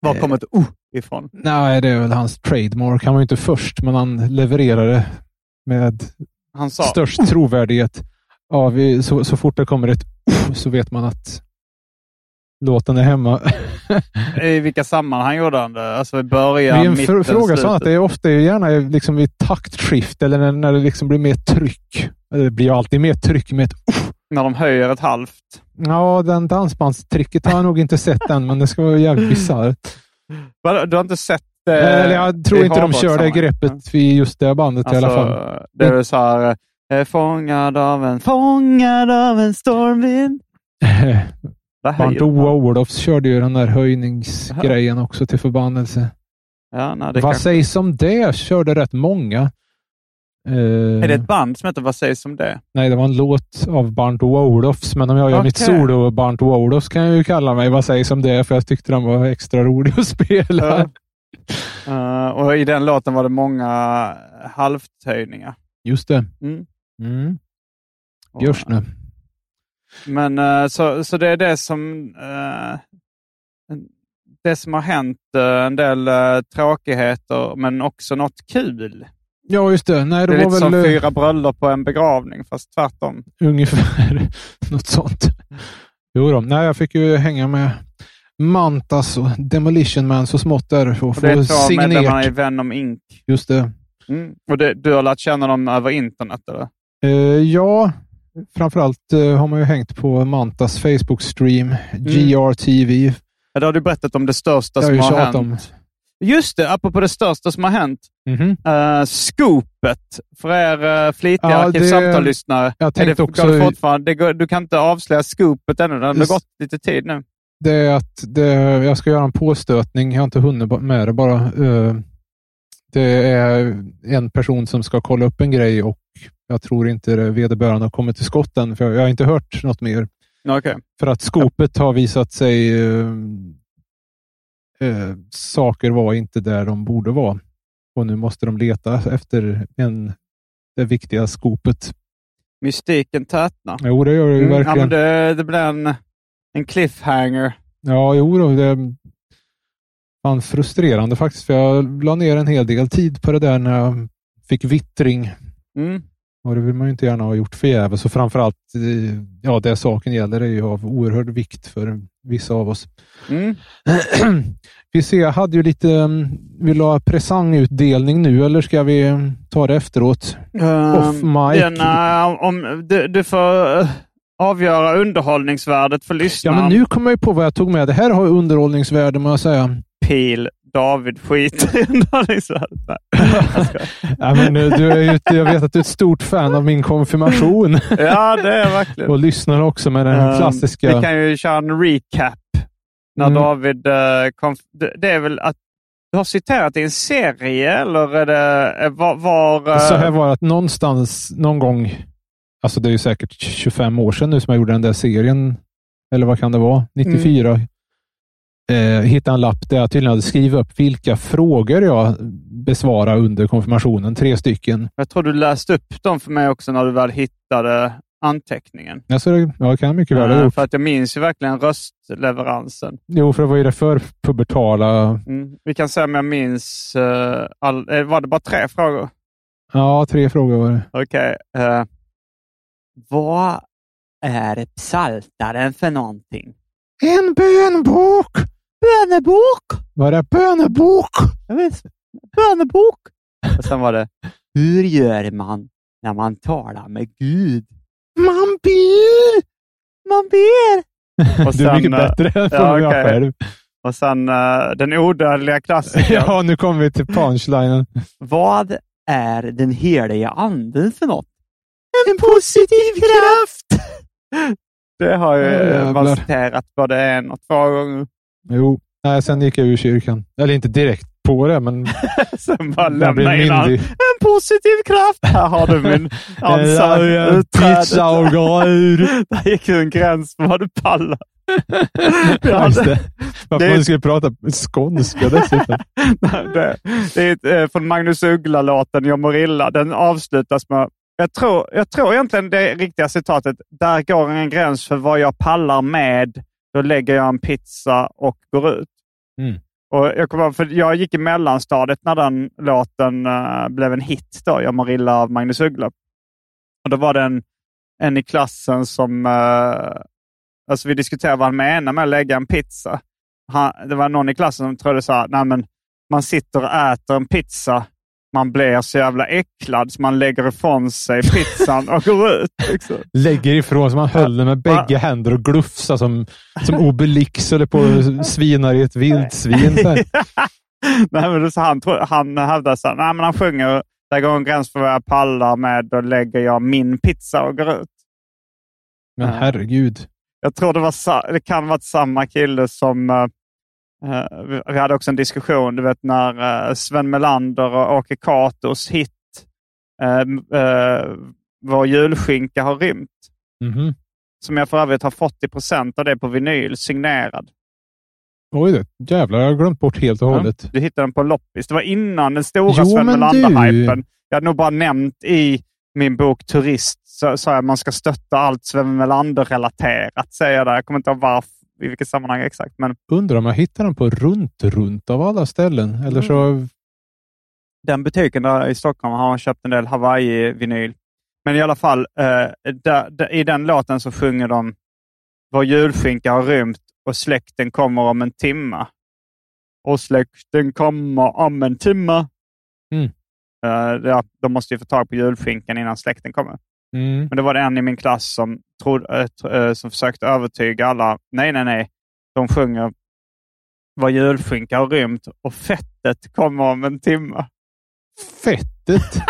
S1: Var kom ett O ifrån?
S2: Nej, det är väl hans trademark. Han var ju inte först, men han levererade med
S1: Han sa
S2: störst trovärdighet. Ja, vi, så, så fort det kommer ett så vet man att låten är hemma.
S1: i vilka sammanhang gjorde han det? Alltså i början,
S2: Men det är en
S1: mitten,
S2: fr- fråga sån att det
S1: slutet.
S2: är ofta gärna liksom i taktskift eller när, när det liksom blir mer tryck. Eller Det blir ju alltid mer tryck med ett
S1: När de höjer ett halvt.
S2: Ja, den dansbandstricket har jag nog inte sett än, men det ska vara jävligt bisarrt.
S1: Vadå, Du har inte sett Eh, det?
S2: Eller Jag tror
S1: i
S2: inte de
S1: Harvard
S2: kör det
S1: sammanhang?
S2: greppet vid just det bandet i alla fall.
S1: Alltså, det är väl så här, eh, fångad av en, fångad av en stormvind. Vad
S2: Bandet
S1: höjer
S2: Oa
S1: man?
S2: Olofs körde ju den där höjningsgrejen också till förbannelse.
S1: Ja, nej, det
S2: Vad
S1: kanske...
S2: sägs om det? Körde rätt många. Eh,
S1: Är det ett band som heter Vad sägs om det?
S2: Nej, det var en låt av Barnt O. Olofs, men om jag gör mitt
S1: Okej.
S2: solo Barnt O. Olofs kan jag ju kalla mig vad sägs om det, för jag tyckte den var extra rolig att spela.
S1: Ja. Eh, och I den låten var det många halvtöjningar.
S2: Just det.
S1: Mm.
S2: Mm. Görs nu.
S1: Men eh, så, så det är det som eh, det som har hänt. eh, En del eh, tråkigheter, men också något kul.
S2: Ja, just det. Nej,
S1: Det
S2: det,
S1: är lite
S2: var
S1: som
S2: väl eh,
S1: fyra bröllop på en begravning, fast tvärtom.
S2: ungefär något sånt. Jo då. Nej, jag fick ju hänga med Mantas och Demolition Man så smått där för att
S1: Och det
S2: få
S1: är två medlemmar i
S2: signerat.
S1: Venom Inc.
S2: Just det.
S1: Mm. Och det, du har lärt känna dem över internet, eller?
S2: Eh, ja, framförallt eh, har man ju hängt på Mantas Facebook-stream,
S1: Mm.
S2: GRTV.
S1: Ja, det har du berättat om det största
S2: Det har
S1: som
S2: jag ju
S1: har hänt.
S2: tjatat om.
S1: Just det, apropå det största som har hänt.
S2: Mhm.
S1: Uh, scoopet för er uh, flitiga
S2: Ja, det-
S1: arkivsamtal-lyssnare.
S2: Jag
S1: Är
S2: tänkte
S1: det,
S2: också
S1: går det fortfarande, det går, du kan inte avslöja scoopet ännu. Det har
S2: Just-
S1: gått lite tid nu.
S2: det är att det, jag ska göra en påstötning. Jag har inte hunnit ba- med det bara. Eh, Det är en person som ska kolla upp en grej och jag tror inte det vederbörande har kommit till skott än, för jag- jag har inte hört något mer.
S1: Okej.
S2: För att skopet har visat sig... eh, eh, saker var inte där de borde vara. Och nu måste de leta efter en, det viktiga skopet.
S1: Mystiken tätnar.
S2: Jo, det gör det ju
S1: Mm, ja,
S2: verkligen.
S1: men det, det blir en, en cliffhanger.
S2: Ja, jo då. Det var frustrerande faktiskt, för jag la ner en hel del tid på det där när jag fick vittring.
S1: Mm.
S2: Och det vill man ju inte gärna ha gjort förgäves. Och framförallt, eh, ja, det saken gäller är ju av oerhörd vikt för vissa av oss.
S1: Mm.
S2: vi ser, jag hade ju lite... mm, Vi la presangutdelning nu, eller ska vi mm, ta det efteråt? Off
S1: Ehm,
S2: mic.
S1: den, eh, om, du, du får eh, avgöra underhållningsvärdet för
S2: Ja,
S1: lyssnaren.
S2: men nu kommer jag ju på vad jag tog med. Det här har ju underhållningsvärde, må jag säga.
S1: Pil David-skit i underhållningsvärdet. Nej, jag skojar.
S2: Ja, men, eh, du är ju, ett- jag vet att du är ett stort fan av min konfirmation.
S1: ja, det är verkligen.
S2: Och lyssnar också med den här
S1: Ehm,
S2: klassiska...
S1: Vi kan ju köra en recap. När
S2: Mm.
S1: David eh, kom... Det det är väl att du har citerat i en serie, eller är det... eh, Var, var, eh,
S2: Så här var det att någonstans, någon gång, alltså det är ju säkert
S1: Mm.
S2: 25 år sedan nu som jag gjorde den där serien, eller vad kan det vara? 94? eh, hittade en lapp där jag tydligen hade skrivit upp vilka frågor jag besvarar under konfirmationen. Tre stycken.
S1: Jag tror du läste upp dem för mig också när du väl hittade anteckningen.
S2: Alltså, jag kan mycket väl ha
S1: Eh,
S2: gjort.
S1: för att jag minns ju verkligen röstleveransen.
S2: Jo, för det var ju det för pubertala.
S1: Mm. Vi kan se om jag minns... eh, all, eh, var det bara tre frågor?
S2: Ja, tre frågor var det.
S1: Okej. eh, vad är psaltaren för någonting?
S2: En bönbok!
S1: Bönebok!
S2: Var det bönebok?
S1: Jag vet. Bönebok! Och sen var det... Hur gör man när man talar med Gud?
S2: Man ber!
S1: Man ber! Och
S2: Du är
S1: sen,
S2: mycket
S1: eh,
S2: bättre än
S1: ja,
S2: frågan jag
S1: okej.
S2: själv.
S1: Och sen eh, den odödliga klassikern.
S2: Ja, nu kommer vi till punchlinen.
S1: Vad är den heliga anden för något? En, positiv kraft! Det har ju
S2: Ja,
S1: eh, man
S2: jävlar.
S1: citerat både en och två gånger.
S2: Jo, nej, sen gick jag ur kyrkan. Eller inte direkt på det, men
S1: Sen bara
S2: jag blev
S1: lämna in han.
S2: myndig.
S1: En positiv kraft! Här har du min ansats.
S2: Pizza och gå ur.
S1: Där gick ju en gräns för vad du pallar.
S2: Ja, just det. Varför
S1: Det-
S2: man skulle prata skånska dessutom.
S1: det, det är ett, eh, från Magnus Uggla-låten Jag mår illa. Den avslutas med... Jag tror, jag tror egentligen det riktiga citatet. Där går en gräns för vad jag pallar med. Då lägger jag en pizza och går ut.
S2: Mm.
S1: Och jag, kommer ihåg, för jag gick i mellanstadiet när den låten eh, blev en hit. Då, jag mår illa av Magnus Uggla. Och då var det en, en i klassen som... eh, alltså vi diskuterade vad han menar med att lägga en pizza. Han, det var någon i klassen som trodde så här, nej men man sitter och äter en pizza. Man blir så jävla äcklad så man lägger ifrån sig pizzan och går ut. Liksom.
S2: Lägger ifrån sig. Man höll den med
S1: Va?
S2: bägge händer och glufsar som, som Obelix eller på och svinar i ett vildsvin. så här.
S1: nej, men det är så han, tror- han hävdar så här, nej men han sjunger där går en gräns för vad jag pallar med. Då lägger jag min pizza och går ut.
S2: Men herregud.
S1: Jag tror det, var, sa- det kan ha varit samma kille som... eh, eh, vi- vi hade också en diskussion, du vet när eh, Sven Melander och Åke Katos hit eh, m- eh, Vår julskinka har rymt.
S2: Mhm.
S1: Som jag för övrigt har fått i procent av det på vinyl, signerad.
S2: Oj då. Jävlar, jag har glömt bort helt och
S1: Ja.
S2: hållet.
S1: Du hittade den på loppis. Det var innan den stora
S2: Jo,
S1: Sven
S2: men
S1: Melander-hypen. Jag hade nog bara nämnt i min bok Turist, så sa jag att man ska stötta allt Sven Melander-relaterat, säger jag där. Jag kommer inte ihåg varför, i vilket sammanhang exakt. Men
S2: Undrar om jag hittar den på runt, runt av alla ställen.
S1: Mm.
S2: Eller så...
S1: den butiken där i Stockholm har han köpt en del Hawaii-vinyl. Men i alla fall, eh, där, där, i den låten så sjunger de Vår julskinka har rymt och släkten kommer om en timma. Och släkten kommer om en timma.
S2: Mm.
S1: Eh, ja, de måste ju få tag på julskinkan innan släkten kommer.
S2: Mm.
S1: Men det var det en i min klass som, trodde, eh, tr- eh, som försökte övertyga alla. Nej, nej, nej. De sjunger Vår julskinka har rymt och fettet kommer om en timma.
S2: Fettet.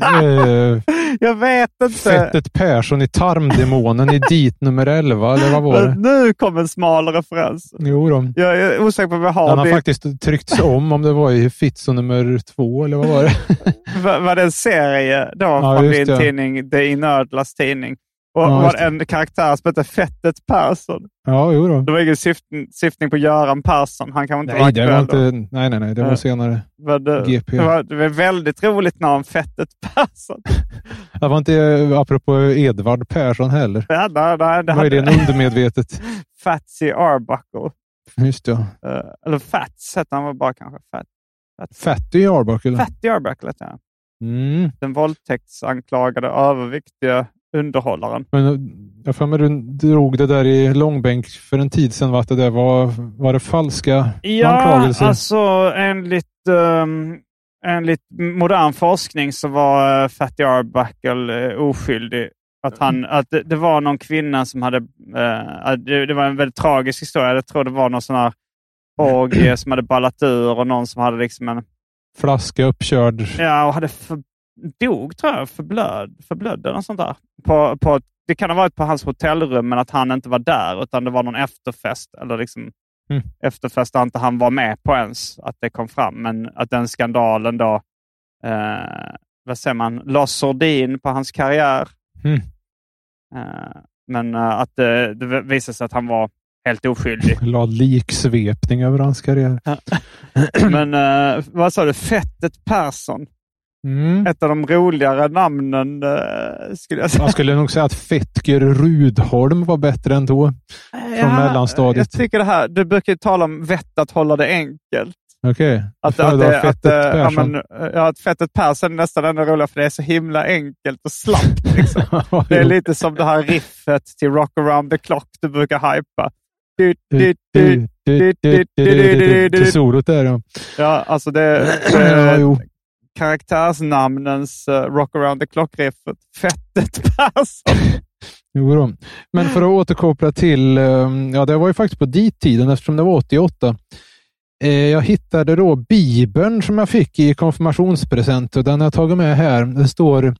S2: Eh,
S1: Jag vet inte.
S2: Fettet Persson i Tarmdemonen i dit nummer 11, eller vad var det?
S1: Men Nu kom en smal referens.
S2: Jo då.
S1: Jag är osäker på vad jag
S2: Den
S1: har.
S2: har
S1: Det,
S2: faktiskt tryckts om, om det var i Fitzo nummer två, eller vad var det?
S1: var, var det en serie då
S2: Ja,
S1: från
S2: just
S1: din
S2: det.
S1: tidning, The Inödlas tidning? Och
S2: Ja,
S1: var
S2: just
S1: det en karaktär som hette Fettet Persson.
S2: Ja, jo då.
S1: Det var ingen syftning, syftning på Göran Persson. Han kanske inte
S2: Nej, det var
S1: aktuell då.
S2: inte... Nej, nej, nej. Det var
S1: Ja.
S2: senare.
S1: Men det,
S2: GP.
S1: Det var, det var ett väldigt roligt namn, Fettet Persson.
S2: Det var inte eh, apropå Edvard Persson heller.
S1: Det hade, det hade, det
S2: Vad är det?
S1: hade
S2: Undermedvetet.
S1: Fatsy Arbuckle.
S2: Just det, ja.
S1: Eh, eller Fats hette han väl bara kanske. Fat,
S2: Fatty Arbuckle.
S1: Fatty Arbuckle hette han.
S2: Mm.
S1: Den våldtäktsanklagade överviktiga underhållaren.
S2: Men eh, jag har för mig du drog det där i långbänk för en tid sedan, va? att det där var, var det falska
S1: Ja,
S2: anklagelser?
S1: alltså enligt, um, enligt modern forskning så var eh, Fatty Arbuckle eh, oskyldig. Att, han, att det, det var någon kvinna som hade... eh, att det, det var en väldigt tragisk historia. Jag tror det var någon sån här orgie som hade ballat ur och någon som hade liksom en...
S2: Flaska uppkörd.
S1: Ja, och hade för, dog tror jag, förblöd, förblödde eller något sånt där. På, på, det kan ha varit på hans hotellrum, men att han inte var där, utan det var någon efterfest. Eller liksom,
S2: Mm.
S1: Efterfest där inte han var med på ens, att det kom fram. Men att den skandalen då, eh, vad säger man, la sordin på hans karriär.
S2: Mm.
S1: Eh, men eh, att det, det eh, visade sig att han var Helt oskyldig.
S2: La liksvepning över hans karriär.
S1: Men eh, vad sa du? Fettet Persson.
S2: Mm.
S1: Ett av de roligare namnen eh, skulle jag säga.
S2: Man skulle nog säga att Fettger Rudholm var bättre än då.
S1: Ja,
S2: mellanstadiet.
S1: Eh, Jag tycker det här, du brukar ju tala om vett att hålla det enkelt.
S2: Okej.
S1: Att,
S2: Jag
S1: att,
S2: föredrar
S1: det, att,
S2: Fettet
S1: eh, ja,
S2: Persson.
S1: men, eh, ja, att fettet Persson är nästan ännu roligare för det är så himla enkelt och slappt. Liksom. Det är lite som det här riffet till Rock around the clock du brukar hypa. Du, du, du.
S2: Det solot där ja.
S1: Ja, alltså det,
S2: ja.
S1: det
S2: Jo.
S1: karaktärsnamnens eh, Rock around the clock-riffet. Fettet Persson.
S2: Jo då. Men för att återkoppla till, eh, ja det var ju faktiskt på dit-tiden eftersom det var 88. Eh, Jag hittade då Bibeln som jag fick i konfirmationspresent och den har jag tagit med här. Det står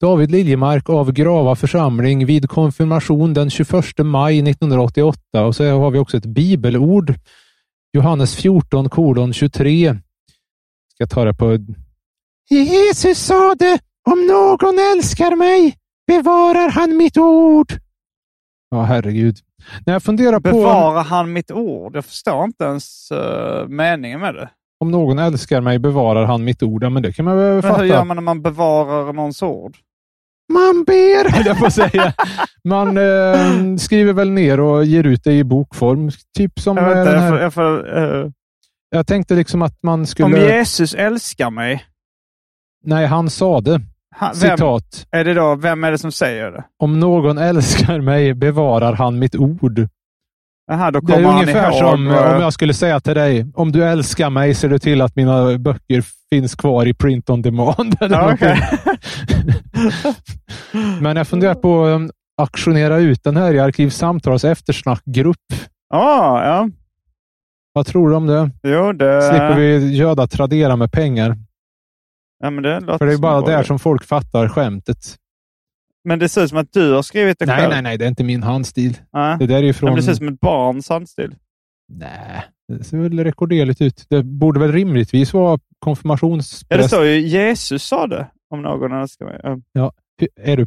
S2: David Liljemark av Grava församling vid konfirmation den 21 maj 1988 och så har vi också ett bibelord. Johannes 14 kolon 23. Ska jag ta det på... Jesus sade, om någon älskar mig bevarar han mitt ord. Ja, herregud. När jag funderar på
S1: Bevarar han mitt ord? Jag förstår inte ens eh, meningen med det.
S2: om någon älskar mig bevarar han mitt ord. Ja, men det kan man väl
S1: Men
S2: fatta.
S1: hur gör man när man bevarar någons ord?
S2: Man ber, höll jag på att säga. Man eh, skriver väl ner och ger ut det i bokform. Typ som
S1: Jag, vet
S2: jag,
S1: inte,
S2: den
S1: jag,
S2: här.
S1: får, jag, får, eh,
S2: jag tänkte liksom att man
S1: om
S2: skulle...
S1: Jesus älskar mig,
S2: Nej, han sade,
S1: han, vem,
S2: citat,
S1: är det då, vem är det som säger det?
S2: om någon älskar mig bevarar han mitt ord.
S1: Aha, då
S2: Det är
S1: kommer han
S2: ungefär
S1: ihåg.
S2: som
S1: eh,
S2: om jag skulle säga till dig, om du älskar mig ser du till att mina böcker finns kvar i print on demand. eller
S1: Ja, okej.
S2: någonting. Men jag funderar på att auktionera ut den här i Arkivsamtals eftersnackgrupp.
S1: ah, ja,
S2: Vad tror du om det?
S1: jo det...
S2: Slipper vi göda Tradera med pengar.
S1: Ja, men det låter
S2: För det är
S1: som
S2: bara
S1: en bra
S2: där
S1: idé.
S2: som folk fattar skämtet.
S1: Men det ser ut som att du har skrivit det
S2: Nej,
S1: själv.
S2: nej, nej. Det är inte min handstil.
S1: nej.
S2: Det där är ju
S1: Ja,
S2: från...
S1: men det ser ut som ett barns handstil.
S2: Nej, det ser väl rekorderligt ut. Det borde väl rimligtvis vara
S1: Ja, det
S2: konfirmationspräst.
S1: står ju Jesus sa det, om någon önskar mig. Ja.
S2: Är du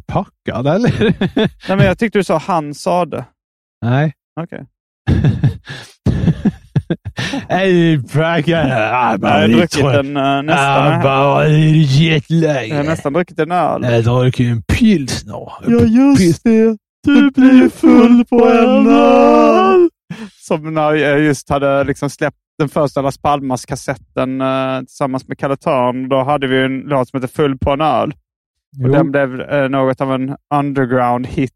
S2: packad eller?
S1: Nej, men jag tyckte du sa han sa det.
S2: Nej.
S1: Okej.
S2: Är Ah, packad?
S1: Jag har druckit en, eh,
S2: Ah,
S1: nästan,
S2: bara
S1: jag har
S2: jetlag.
S1: nästan druckit en öl.
S2: Jag dricker en pilsner.
S1: just det. Du blir full på en öl. Som när jag just hade liksom släppt den första Las Palmas-kassetten eh, tillsammans med Kalle Törn. Då hade vi ju en låt som hette Full på en öl. Och
S2: Jo.
S1: den blev eh, något av en underground-hit.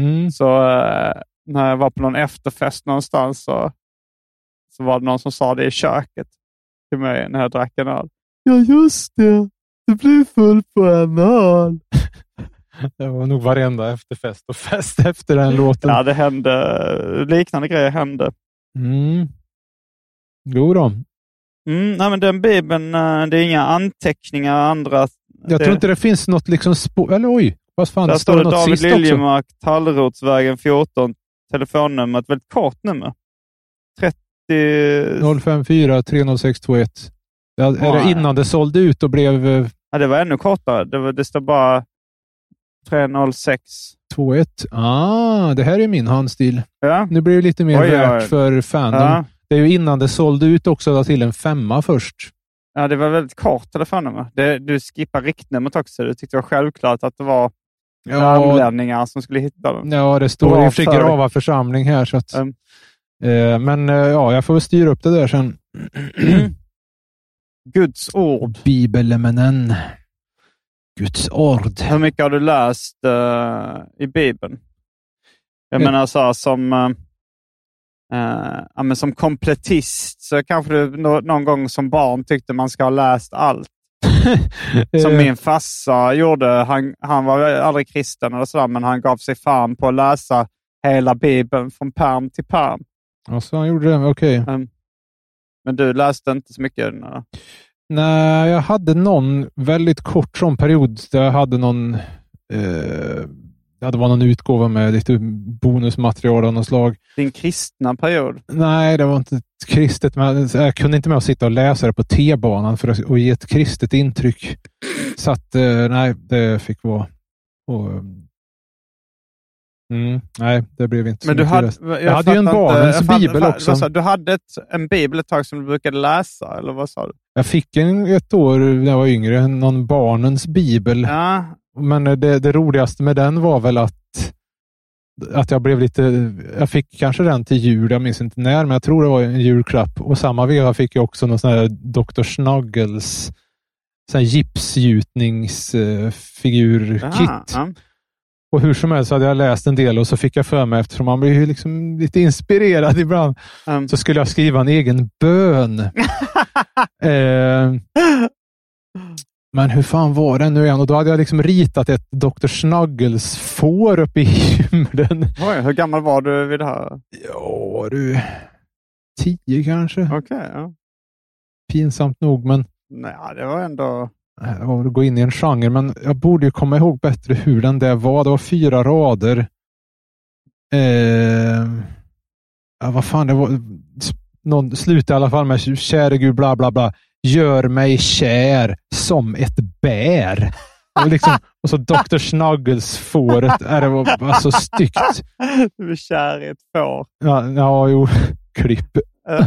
S2: Mm.
S1: Så eh, när jag var på någon efterfest någonstans så, så var det någon som sa det i köket till mig när jag drack en öl. Ja, just det. Du blir full på en öl.
S2: Det var nog varenda efterfest och fest efter den låten.
S1: Ja, det hände. Liknande grejer hände.
S2: Mm. Jo då.
S1: Mm, nej, men den bibeln, eh, det är inga anteckningar andra.
S2: Jag
S1: det,
S2: tror inte det finns något liksom spår. Eller oj, vad fan,
S1: Där
S2: det
S1: står
S2: står
S1: det
S2: något
S1: David
S2: sist också.
S1: Liljemark, Tallrotsvägen 14, telefonnummer. Ett väldigt kort nummer. 30...
S2: 054 306 21. Ja, är det
S1: Nej.
S2: innan det sålde ut och blev eh,
S1: Ja, det var ännu kortare. Det, var, det står bara 306.
S2: 2-1. Ah, det här är min handstil.
S1: Ja.
S2: Nu blir det lite mer
S1: Oj, oj, oj.
S2: värt för fandom.
S1: Ja.
S2: Det är ju innan det sålde ut också, la till en femma först.
S1: ja, det var väldigt kort telefonnummer. Det, du skippar riktnumret också. Du tyckte det var självklart att det var värmlänningar som skulle hitta den.
S2: ja det står
S1: Bra
S2: i och för sig
S1: för-
S2: Grava församling här. Så att,
S1: Mm.
S2: eh, men eh, ja, jag får väl styra upp det där sen.
S1: Guds ord.
S2: Bibelemenen. Guds ord.
S1: Hur mycket har du läst eh, i Bibeln? Jag
S2: Eh.
S1: menar så här, som, eh, eh, ja, men som kompletist så kanske du nå- någon gång som barn tyckte man ska ha läst allt. Som
S2: Eh,
S1: min farsa gjorde. Han, han var aldrig kristen eller sådär, men han gav sig fan på att läsa hela Bibeln från pärm till pärm.
S2: Ja, så han gjorde det. Okej.
S1: Men du läste inte så mycket. Eller?
S2: Nej, jag hade någon väldigt kort sån period där jag hade någon... Eh, ja, det var någon utgåva med lite bonusmaterial av något slag.
S1: Din kristna period.
S2: Nej, det var inte kristet. Men jag kunde inte med att sitta och läsa det på T-banan för att och ge ett kristet intryck. Så att, eh, nej, det fick vara. Och, eh, Mm, nej, det blev inte så
S1: Men du
S2: mycket
S1: hade,
S2: rest. Jag, hade ju en barnens bibel också.
S1: Sa, du hade ett, en bibel ett tag som du brukade läsa, eller vad sa du?
S2: Jag fick en ett år när jag var yngre, någon barnens bibel.
S1: Ja,
S2: Men eh, det, det roligaste med den var väl att, att jag blev lite... Jag fick kanske den till jul, jag minns inte när, men jag tror det var en julklapp. Och samma veva fick jag också någon sån här Dr. Snuggles sån här gipsgjutningsfigur-kit.
S1: aha, Ah, ja.
S2: Och hur som helst så hade jag läst en del och så fick jag för mig, eftersom man blir ju liksom lite inspirerad ibland,
S1: Ehm,
S2: så skulle jag skriva en egen bön. eh, men hur fan var den nu igen? Och då hade jag liksom ritat ett Dr. Snuggles får uppe i himlen.
S1: Oj, hur gammal var du vid det här?
S2: Ja du, tio kanske.
S1: Okej, ja.
S2: Pinsamt nog, men
S1: Nej, det var ändå...
S2: det var väl att gå in i en genre. Men jag borde ju komma ihåg bättre hur den där var. Det var fyra rader. Eh, ja, vad fan, det var... s- Någon slutade i alla fall med käre gud bla bla bla. Gör mig kär som ett bär. Och, liksom, och så Dr. Snuggles-fåret. Ja, Det var bara så styggt.
S1: du är kär i ett får.
S2: Ja, ja jo. Klipp.
S1: Eh,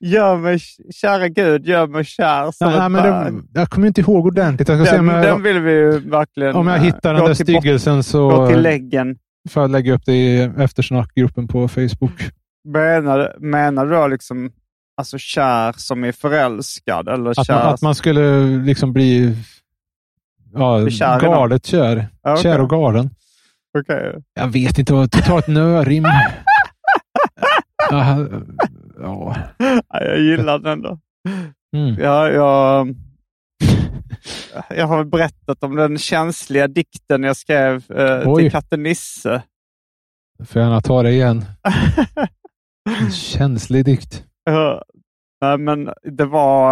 S1: gör mig, kära Gud, gör mig kär som
S2: Nej,
S1: ett
S2: men
S1: barn.
S2: det, jag kommer inte ihåg ordentligt. Jag ska se
S1: den,
S2: om jag,
S1: den vill vi ju verkligen...
S2: om jag
S1: eh,
S2: hittar den
S1: gå
S2: där
S1: till botten-
S2: styggelsen så...
S1: Gå till läggen.
S2: får jag lägga upp det i eftersnackgruppen på
S1: Mm.
S2: Facebook.
S1: Menar, menar du då liksom alltså kär som är förälskad? Eller
S2: Att
S1: kär...
S2: man, att man skulle liksom bli ja,
S1: Bli kär i någon.
S2: galet kär.
S1: Ja, okej.
S2: Kär och galen.
S1: Okej.
S2: Jag vet inte, vad totalt nörim. ja, ja.
S1: Ja, jag gillar den då.
S2: Mm.
S1: Jag, jag, jag har berättat om den känsliga dikten jag skrev eh,
S2: Oj.
S1: till katten Nisse.
S2: Får jag gärna ta det igen. En känslig dikt.
S1: Eh, Nej, men det var...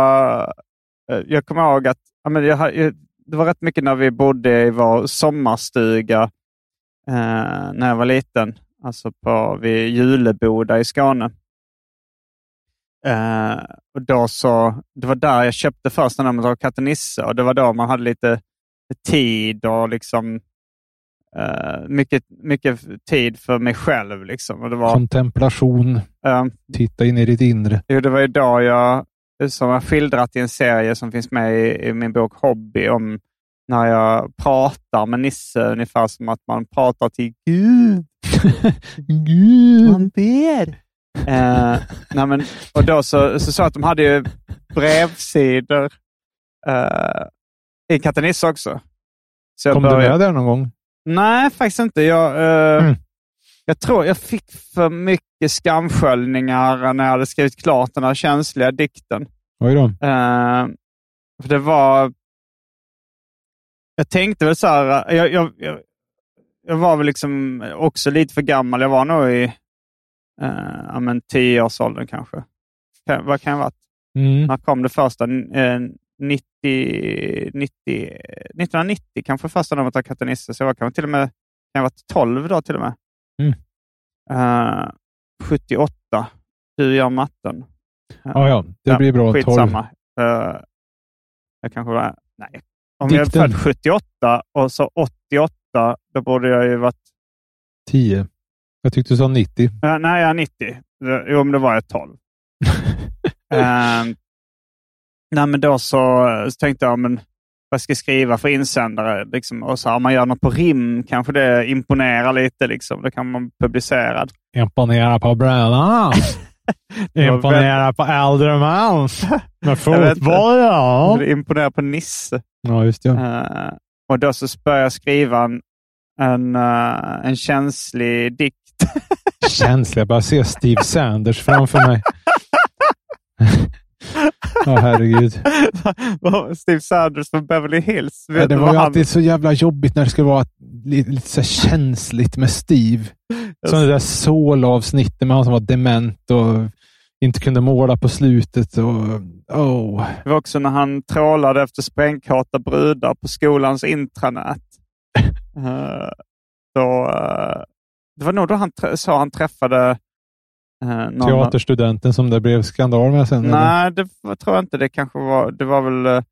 S1: eh, Jag kommer ihåg att ja, men jag, ha- jag, det var rätt mycket när vi bodde i vår sommarstuga eh, när jag var liten. Alltså på, vid Juleboda i Skåne. Eh, och då så, det var där jag köpte först den där katten Nisse och det var då man hade lite tid och liksom eh, mycket, mycket tid för mig själv. Liksom. Och det var,
S2: Kontemplation.
S1: eh,
S2: Titta in i ditt inre.
S1: Jo, det var ju då jag, som jag skildrat i en serie som finns med i, i min bok Hobby, om när jag pratar med Nisse, ungefär som att man pratar till Gud.
S2: Gud.
S1: ber. Eh, nej men, och då så, så sa jag att de hade ju brevsidor eh, i Katten Nisse också. Så jag
S2: Kom du med där någon gång?
S1: Nej, faktiskt inte. Jag, eh,
S2: Mm.
S1: jag tror jag fick för mycket skamsköljningar när jag hade skrivit klart den här känsliga dikten.
S2: Oj då.
S1: Eh, för det var... Jag tänkte väl så här... eh, Jag, jag, jag, jag var väl liksom också lite för gammal. Jag var nog i eh, ja, men tioårsåldern kanske. Kan, vad kan jag ha varit?
S2: Mm.
S1: När kom det första? Eh, 90, 90, 1990 kanske första numret av Katten Nisse. Så jag var kanske till och med kan jag ha varit 12 då till och med.
S2: Mm.
S1: Eh, 78. Du gör matten. Eh,
S2: Ja, ja. Det
S1: Ja,
S2: blir bra. Tolv.
S1: Skitsamma. Eh, jag kanske var... Nej. Om
S2: Dikten.
S1: jag är född 78 och så 88, då borde jag ju varit...
S2: 10. Jag tyckte du sa 90.
S1: Eh, nej, jag är 90. Eh, Jo, men då var jag 12. Ehm, nej, men då så, så tänkte jag, men, vad ska jag skriva för insändare? Liksom, och så, om man gör något på rim kanske det imponerar lite. Liksom. Då kan man publicera. det.
S2: Imponera på bröderna. Imponera på äldre man. Med fotboll, ja.
S1: Det imponerar på Nisse.
S2: Ja, just det.
S1: Eh, och då så började jag skriva en, en, eh, en känslig dikt.
S2: Känsliga. Jag börjar se Steve Sanders framför mig. Ja, herregud.
S1: Vad Steve Sanders från Beverly Hills. Vet
S2: Ja, Det
S1: du
S2: var
S1: vad
S2: ju
S1: han-
S2: alltid så jävla jobbigt när det skulle vara lite, lite så här känsligt med Steve. Som det där solavsnittet med han som var dement och inte kunde måla på slutet. Och, oh.
S1: Det var också när han trålade efter sprängkåta brudar på skolans intranät. Eh, då, eh, det var nog då han, trä- så han träffade eh, någon...
S2: Teaterstudenten som det blev skandal med sen. eller?
S1: Nej, det var, tror jag inte. Det kanske var... Det var väl... eh,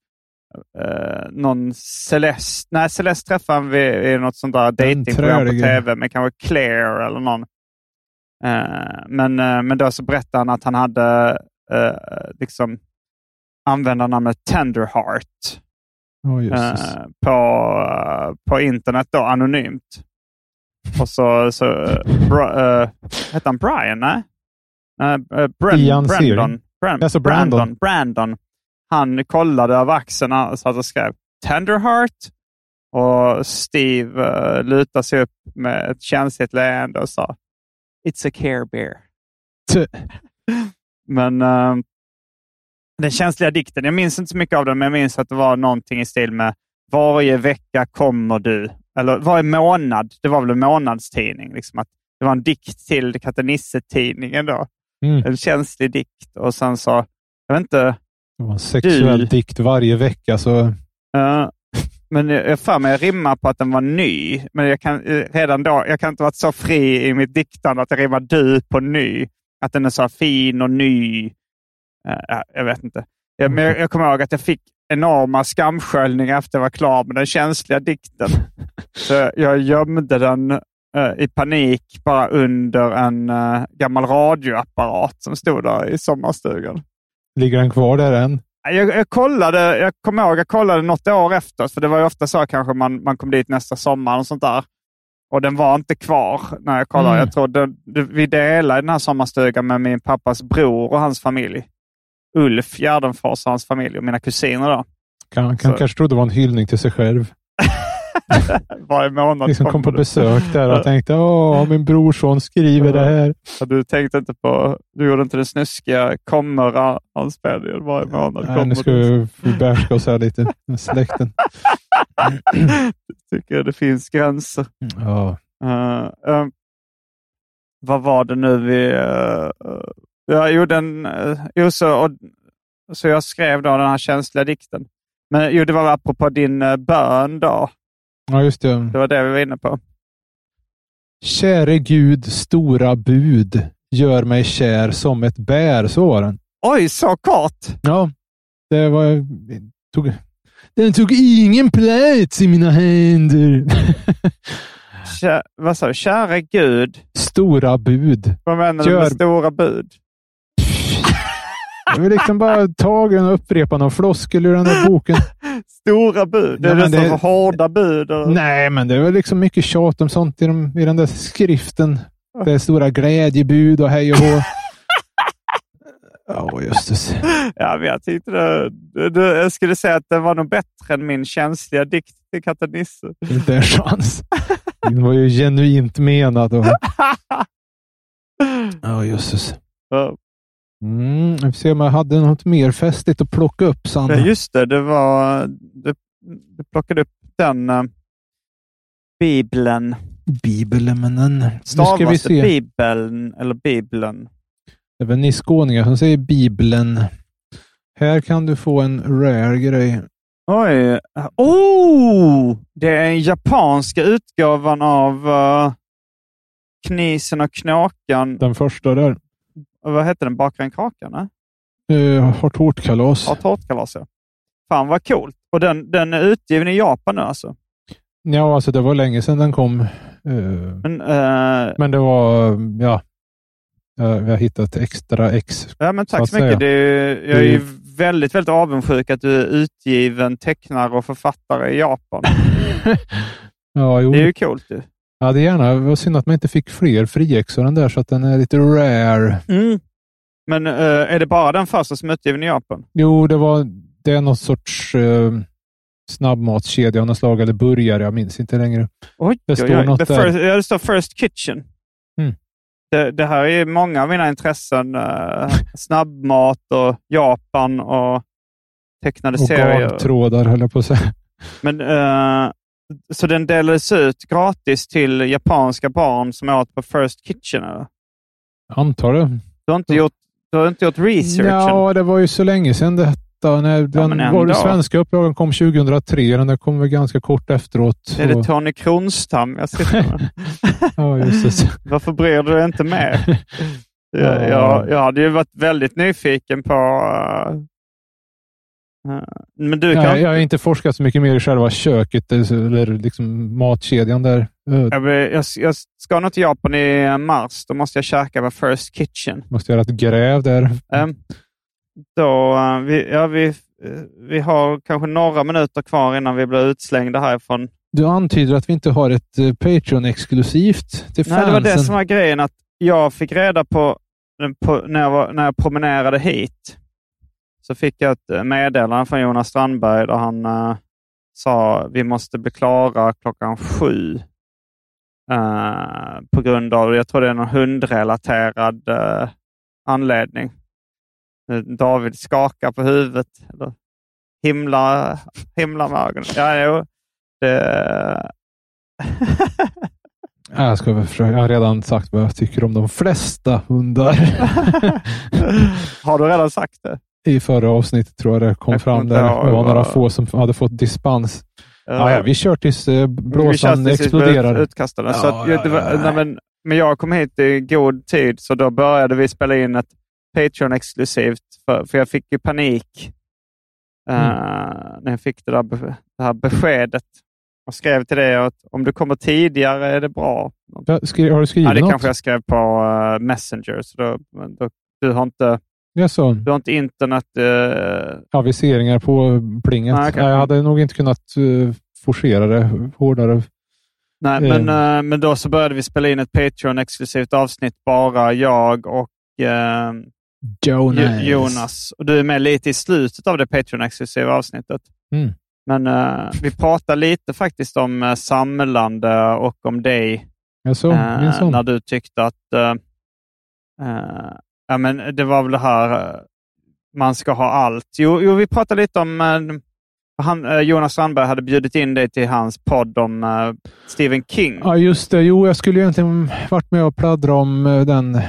S1: eh, någon Celeste. Nej, Celeste träffade han vid, i något sånt där datingprogram på
S2: trälige.
S1: tv med kanske Claire eller någon. Eh, men, eh, men då så berättade han att han hade eh, liksom användarnamnet Tenderheart
S2: Ja, jösses.
S1: eh, på, på internet då, anonymt. Och så, så eh, Bra, eh, hette han Brian? Nej? Eh, eh, Bren,
S2: Ian Searing.
S1: Brandon. Bran-
S2: Alltså Brandon.
S1: Brandon. Brandon. Han kollade över axeln och satt och skrev Tenderheart. Och Steve uh, lutade sig upp med ett känsligt leende och sa It's a care bear.
S2: Tö.
S1: Men eh, den känsliga dikten, jag minns inte så mycket av den, men jag minns att det var någonting i stil med varje vecka kommer du, eller varje månad, det var väl en månadstidning, liksom att det var en dikt till Katte Nisse-tidningen då.
S2: Mm.
S1: En känslig dikt och sen så, jag vet inte,
S2: Det var en sexuell
S1: Du-
S2: dikt varje vecka. Så,
S1: eh, men jag jag för mig jag rimmar på att den var ny, men jag kan eh, redan då, jag kan inte ha varit så fri i mitt diktande att jag rimmar du på ny, att den är så här fin och ny. Eh, ja, jag vet inte. Jag, men jag, jag kommer ihåg att jag fick enorma skamsköljningar efter jag var klar med den känsliga dikten. Så jag gömde den eh, i panik bara under en eh, gammal radioapparat som stod där i sommarstugan.
S2: ligger den kvar där än?
S1: Jag, jag kollade, jag kommer ihåg, jag kollade något år efter, för det var ju ofta så kanske man, man kom dit nästa sommar och sånt där. Och den var inte kvar när jag kollade.
S2: Mm.
S1: Jag tror den- det- vi delade den här sommarstugan med min pappas bror och hans familj. Ulf Gärdenfors och hans familj och mina kusiner då.
S2: Kan,
S1: Så.
S2: kan kanske trodde det var en hyllning till sig själv.
S1: Varje månad
S2: Liksom kom på
S1: du.
S2: besök där och tänkte åh, min brorson skriver det här.
S1: Så Du tänkte inte på, du gjorde inte den snuskiga kommer-anspelningen varje månad.
S2: Nej, nu
S1: kommer
S2: ska
S1: du.
S2: vi vi bärska oss här lite med släkten.
S1: Tycker det finns gränser.
S2: Ja.
S1: Eh, eh, vad var det nu vi... eh, eh, ja, jo, den, eh, jo så, och, så jag skrev då den här känsliga dikten. Men jo, det var apropå din uh, bön då.
S2: ja, just det.
S1: Det var det vi var inne på.
S2: Käre Gud, stora bud, gör mig kär som ett bär. Så var den.
S1: Oj, så kort!
S2: Ja, det var... Tog, den tog ingen plats i mina händer.
S1: Kä, vad sa du? Käre Gud,
S2: stora bud.
S1: vad menar du
S2: Gör-
S1: med stora bud?
S2: Jag vill liksom bara ta den och upprepa någon floskel ur den här boken.
S1: Stora bud? Det är
S2: Nej, men
S1: nästan
S2: det-
S1: för hårda bud. Och,
S2: Nej, men det var liksom mycket tjat om sånt i, de, i den där skriften. Det är stora glädjebud och hej och hå. Ja, jösses.
S1: Ja, men jag tyckte det, det, det, jag skulle säga att den var nog bättre än min känsliga dikt till Katte Nisse.
S2: Inte en chans. Den var ju genuint menad. och- Ja, jösses.
S1: Ja.
S2: Mm, jag får se om jag hade något mer festligt att plocka upp, Sanna.
S1: Ja, just det. Det var... Du, du plockade upp den eh, bibeln.
S2: Bibeln, men den... Nu ska vi
S1: Stavas det
S2: se.
S1: bibeln eller bibeln?
S2: Det är väl ni skåningar som säger Bibeln. Här kan du få en rare grej.
S1: Oj! Oh! Det är den japanska utgåvan av eh, Knisen och knakan.
S2: Den första där.
S1: Vad heter den? Bakar en kaka? Nej?
S2: Uh, har tårtkalas.
S1: Ja, tårtkalas. ja. Fan vad coolt. Och den, den är utgiven i Japan nu alltså.
S2: Ja, alltså det var länge sedan den kom. Eh,
S1: Men, eh,
S2: men det var, ja. Jag jag har hittat extra ex.
S1: Ja, men
S2: så
S1: tack
S2: att
S1: så mycket.
S2: säga.
S1: Det är ju, jag är ju
S2: Det
S1: väldigt, väldigt avundsjuk att du är utgiven tecknare och författare i Japan.
S2: Ja, jo.
S1: Det är ju coolt ju.
S2: Jag hade gärna, det var synd att man inte fick fler friexor än där så att den är lite rare.
S1: Men eh, är det bara den första som är utgiven i Japan?
S2: Jo, det var, det är någon sorts uh, snabbmatskedja av något slag, eller burgare, jag minns inte längre.
S1: Oj,
S2: Det står något
S1: The
S2: där.
S1: first, ja, det står First Kitchen.
S2: Mm.
S1: Det, det här är ju många av mina intressen. eh, snabbmat och Japan och tecknade
S2: Och
S1: serier.
S2: garntrådar höll jag på att säga.
S1: Men, eh, så den delades ut gratis till japanska barn som åt på First Kitchen? Eller?
S2: Jag Antar det.
S1: Du har inte gjort, du har inte gjort researchen?
S2: Ja, det var ju så länge sedan detta. När den,
S1: men
S2: var
S1: ändå.
S2: den svenska upplagan kom 2003, den där kom väl ganska kort efteråt.
S1: Är det
S2: Och-
S1: Tony Kronstam jag sitter med?
S2: ja, just det.
S1: Varför bryr du dig inte mer? Jag,
S2: Ja.
S1: jag, jag hade ju varit väldigt nyfiken på Eh, Men du kan...
S2: Nej, jag har inte forskat så mycket mer i själva köket eller liksom matkedjan där. Eh,
S1: Jag, vill- jag, jag ska nog till Japan i mars. Då måste jag käka på First Kitchen.
S2: Måste göra ett gräv där.
S1: Ehm, Då, eh, vi, ja, vi, eh, vi har kanske några minuter kvar innan vi blir utslängda härifrån.
S2: Du antyder att vi inte har ett eh, Patreon-exklusivt till
S1: Nej, det var det
S2: fansen.
S1: som var grejen. att Jag fick reda på, på när, jag var, när jag promenerade hit, så fick jag ett eh, meddelande från Jonas Strandberg där han eh, sa vi måste bli klara klockan sju. eh, på grund av, jag tror det är någon hundrelaterad eh, anledning. Eh, David skakar på huvudet. Eller himla, himla med ögonen. Ja, jo, det...
S2: Ja, jag, ska väl försöka. jag har redan sagt vad jag tycker om de flesta hundar.
S1: Har du redan sagt det?
S2: I förra avsnittet tror jag det kom
S1: Jag kommer
S2: fram
S1: inte
S2: där.
S1: ihåg
S2: Det var
S1: vad-
S2: några få som hade fått dispens. Ja, ja, vi kör tills eh, blåsan exploderar.
S1: Utkastade. så
S2: Ja,
S1: att, ju- det var,
S2: ja, ja, ja.
S1: Nej, men, men jag kom hit i god tid, så då började vi spela in ett Patreon-exklusivt, för, för jag fick ju panik eh,
S2: Mm.
S1: när jag fick det, där, be- det här beskedet. Jag skrev till dig att om du kommer tidigare är det bra.
S2: Ja, skri- har du skrivit
S1: Ja, det
S2: något?
S1: kanske jag skrev på eh, Messenger, så då, men då, du, har inte,
S2: Ja, så.
S1: du har inte internet. eh,
S2: Aviseringar på plinget.
S1: Nej, okej.
S2: Nej, jag hade nog inte kunnat uh, forcera det hårdare.
S1: Nej,
S2: Eh.
S1: men, eh, men då så började vi spela in ett Patreon-exklusivt avsnitt, bara jag och eh, Jo- Jonas. Och du är med lite i slutet av det Patreon-exklusiva avsnittet.
S2: Mm.
S1: Men eh, vi pratar lite faktiskt om eh, samlande och om dig
S2: Ja, så,
S1: eh,
S2: min
S1: när
S2: son.
S1: du tyckte att eh, eh, ja, men det var väl det här eh, man ska ha allt. Jo, jo vi pratade lite om eh, han, eh, Jonas Strandberg hade bjudit in dig till hans podd om eh, Stephen King.
S2: Ja, just det. Jo, jag skulle ju egentligen varit med och pladdra om eh, den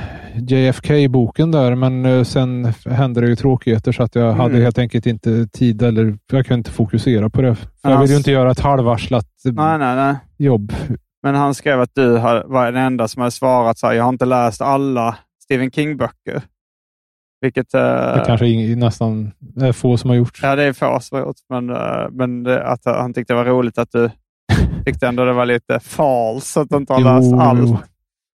S2: JFK-boken där, men eh, sen f- hände det ju tråkigheter så att jag
S1: Mm.
S2: hade helt enkelt inte tid eller jag kunde inte fokusera på det. För jag
S1: Alltså-
S2: vill ju inte göra ett halvvarslat eh,
S1: Nej, nej, nej.
S2: jobb.
S1: Men han skrev att du har- var den enda som hade svarat så här, jag har inte läst alla Stephen King-böcker. Vilket... eh,
S2: Det kanske ing- nästan är få som har gjort.
S1: Ja, det är få som har gjort, men, eh, men det, att han tyckte det var roligt att du tyckte ändå det var lite falskt att du inte har läst
S2: Jo,
S1: allt.
S2: jo.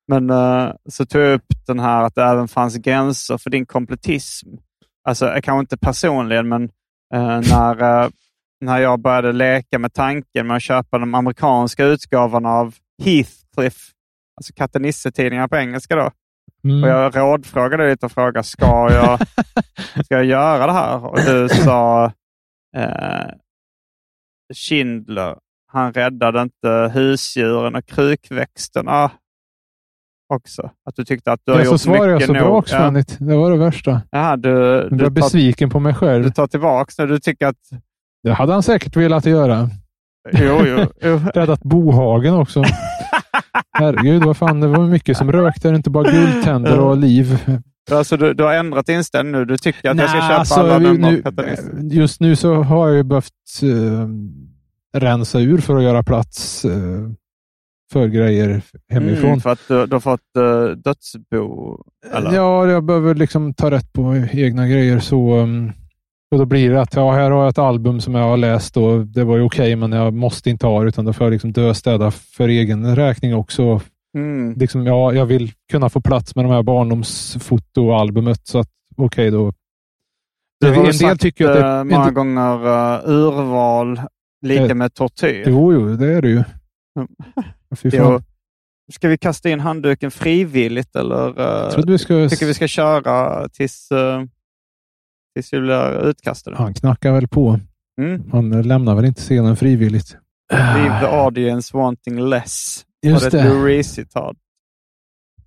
S1: Men eh, så tog jag upp den här att det även fanns gränser för din kompletism. Alltså, jag kanske inte personligen, men eh, när, eh, när jag började leka med tanken med att köpa de amerikanska utgåvorna av Heathcliff, alltså Katte Nisse-tidningarna på engelska då.
S2: Mm.
S1: Och jag rådfrågade lite och frågade, ska jag, ska jag göra det här? Och du sa, eh, Schindler, han räddade inte husdjuren och krukväxterna också. Att du tyckte att du har
S2: Ja, så
S1: gjort mycket
S2: svarade jag så
S1: nog.
S2: bra också,
S1: ja,
S2: Fanny. Det var det värsta.
S1: ja, du,
S2: Jag
S1: du,
S2: blev
S1: tar,
S2: besviken på mig själv.
S1: du tar tillbaka nu. Du tycker att,
S2: Det hade han säkert velat göra.
S1: jo, jo, jo.
S2: Räddat Bohagen också. Herregud, vad fan. Det var mycket som rökte. Inte bara guldtänder och liv.
S1: Alltså, du, du har ändrat inställning nu. Du tycker att jag ska
S2: Nej,
S1: köpa
S2: alltså,
S1: alla
S2: vi-
S1: nummer av
S2: nu,
S1: Katalys.
S2: Just nu så har jag ju behövt eh, rensa ur för att göra plats eh, för grejer hemifrån.
S1: Mm, för att du, du har fått eh, dödsbo. Eller?
S2: Ja, jag behöver liksom ta rätt på egna grejer. Så, um, och då blir det att ja, här har jag ett album som jag har läst och det var ju okej, men jag måste inte ha det, utan då får jag liksom döstäda för egen räkning också.
S1: Mm.
S2: Liksom, ja, jag vill kunna få plats med de här barndomsfotoalbumet, så att okej då.
S1: Du
S2: Det-
S1: har
S2: en
S1: väl
S2: del
S1: sagt
S2: tycker att det-
S1: eh,
S2: en
S1: många
S2: del-
S1: gånger eh, urval lika
S2: Eh,
S1: med tortyr.
S2: Jo, jo, det är det ju. Fy fan.
S1: Mm. Jo. eh, Ska vi kasta in handduken frivilligt eller eh,
S2: Jag trodde vi skulle...
S1: tycker vi ska köra tills, eh, tills vi blir utkastade?
S2: Han knackar väl på.
S1: Mm.
S2: Han eh, lämnar väl inte scenen frivilligt.
S1: Leave the audience wanting less.
S2: Ah. Just
S1: Var det.
S2: det.
S1: ett Lou Reed-citat?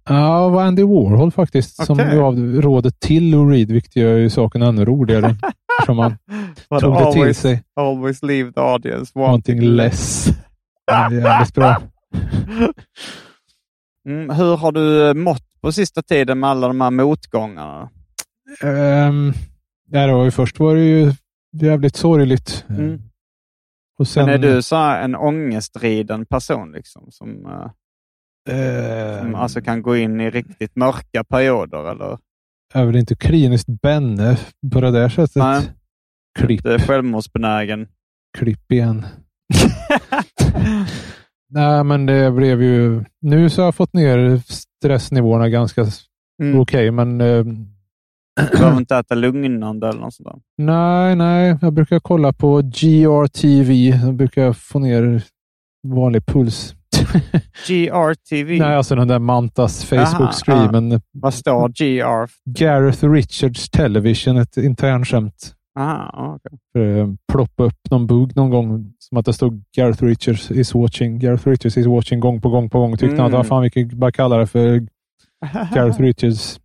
S2: Ja, det var Andy Warhol faktiskt som
S1: Okej.
S2: gav rådet till Lou Reed, vilket gör ju saken ännu roligare. Eftersom han
S1: Var det
S2: tog det till
S1: always,
S2: sig.
S1: always leave the audience wanting
S2: Någonting less. Ja, det är jävligt bra.
S1: Mm, hur har du eh, mått på sista tiden med alla de här motgångarna?
S2: Um, det var ju, först var det ju jävligt sorgligt. Ehm,
S1: Mm.
S2: Och sen,
S1: Men är du så här en ångestriden person liksom? Som, eh,
S2: ehm,
S1: som alltså kan gå in i riktigt mörka perioder? Eller?
S2: Jag är väl inte kliniskt Benne på det där sättet.
S1: Nej.
S2: Klipp,
S1: Det är självmordsbenägen.
S2: klipp igen. Nej, men det blev ju... Nu så har jag fått ner stressnivåerna ganska s-
S1: Mm.
S2: okej, men eh,
S1: Behöver inte äta lugnande eller något sånt där.
S2: nej, nej. Jag brukar kolla på GRTV. Då brukar jag få ner vanlig puls.
S1: GRTV.
S2: nej, alltså den där Mantas Facebook-screamen.
S1: Vad står GR?
S2: Gareth Richards Television, ett internskämt.
S1: Aha, okej.
S2: eh, ploppa upp någon bugg någon gång. Som att det stod Gareth Richards is watching, Gareth Richards is watching gång på gång på gång. Tyckte han att
S1: Mm.
S2: vad fan, vi kan bara kalla det för Gareth Richards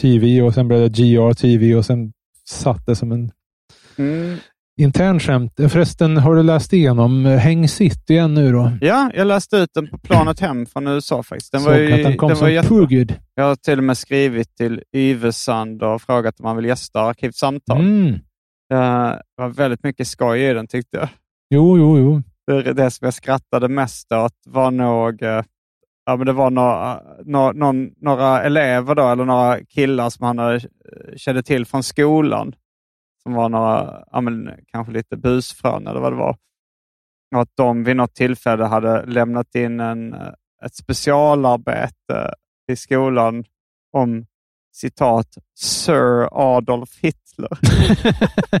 S2: TV och sen blev det GR TV och sen satt det som en
S1: Mm.
S2: intern skämt. Förresten, har du läst igenom eh, Häng City igen nu då?
S1: Ja, jag läste ut den på planet hem från USA faktiskt. Den var
S2: Såg
S1: ju,
S2: att den kom
S1: var
S2: som
S1: jätte-
S2: pugged.
S1: Jag har till och med skrivit till Yvesand och frågat om han vill gästa Arkivsamtal. Eh,
S2: Mm.
S1: Det var väldigt mycket skoj i den tyckte jag.
S2: Jo, jo, jo.
S1: Det, det som jag skrattade mest åt var nog eh, ja, men det var några, några, någon, några elever då, eller några killar som han hade, eh, kände till från skolan. Som var några, ja, men, kanske lite busfrön eller vad det var. Och att de vid något tillfälle hade lämnat in en, eh, ett specialarbete i skolan om citat Sir Adolf Hitler.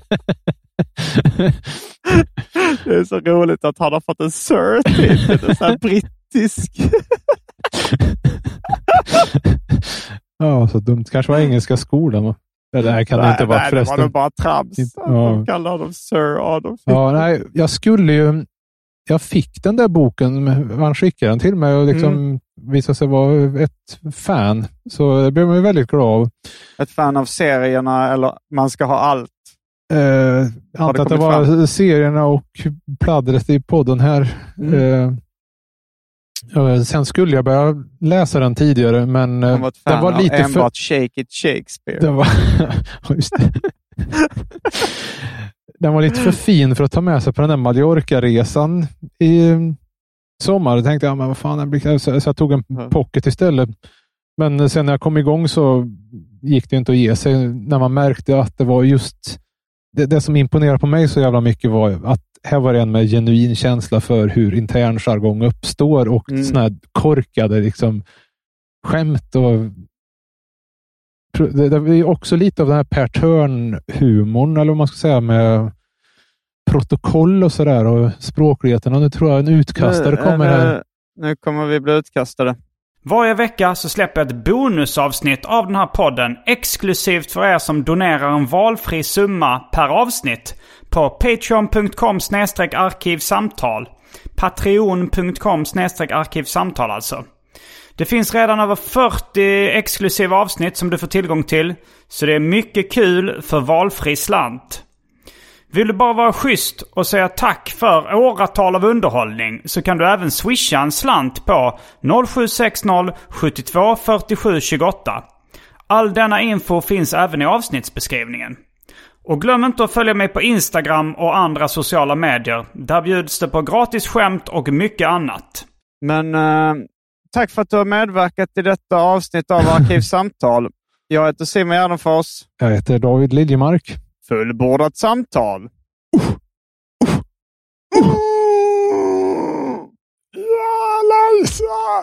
S1: Det är så roligt att han har fått en Sir till. Det är så här brittisk.
S2: ja, så dumt. Kanske var engelska skolan. va? Ja, Det här kan det inte vara
S1: nej, det var
S2: förresten.
S1: nog bara trams.
S2: Inte-
S1: Att De
S2: ja.
S1: kallar honom Sir Adolf.
S2: Ja, nej, jag skulle ju... Jag fick den där boken, han skickade den till mig och liksom
S1: Mm.
S2: visade sig vara ett fan. Så det blev man ju väldigt glad av.
S1: Ett fan av serierna eller Man ska ha allt.
S2: Eh, antar att det
S1: kommit
S2: var serierna och pladdret i podden här.
S1: Mm.
S2: Eh, eh, sen skulle jag börja läsa den tidigare, men eh,
S1: Han var ett fan
S2: den var lite
S1: av
S2: för...
S1: enbart Shake It Shakespeare.
S2: Den var, Ja, just det. den var lite för fin för att ta med sig på den där Mallorca-resan i mm, sommar. Då tänkte jag, men vad fan, den blir... så så jag tog en
S1: Mm.
S2: pocket istället. Men sen när jag kom igång så gick det inte att ge sig. När man märkte att det var just det, det som imponerade på mig så jävla mycket var att här var det en med genuin känsla för hur intern jargong uppstår och
S1: Mm.
S2: såna här korkade liksom, skämt. Och, Pro- det, det är också lite av den här Per Törn-humorn, eller vad man ska säga, med protokoll och sådär och språkligheten. Och nu tror jag en utkastare
S1: Nu-
S2: kommer här.
S1: nu, nu kommer vi bli utkastade.
S6: Varje vecka så släpper jag ett bonusavsnitt av den här podden exklusivt för er som donerar en valfri summa per avsnitt på patreon.com arkivsamtal. Patreon.com arkivsamtal alltså. Det finns redan över 40 exklusiva avsnitt som du får tillgång till. Så det är mycket kul för valfri slant. Vill du bara vara schysst och säga tack för åratal av underhållning så kan du även swisha en slant på 0760 72 47 28. All denna info finns även i avsnittsbeskrivningen. Och glöm inte att följa mig på Instagram och andra sociala medier. Där bjuds det på gratis skämt och mycket annat.
S1: Men eh, tack för att du har medverkat i detta avsnitt av Arkivsamtal. Jag heter Simon Gärdenfors.
S2: Jag heter David Liljemark.
S1: Fullbordat samtal.
S2: Ja, Lisa!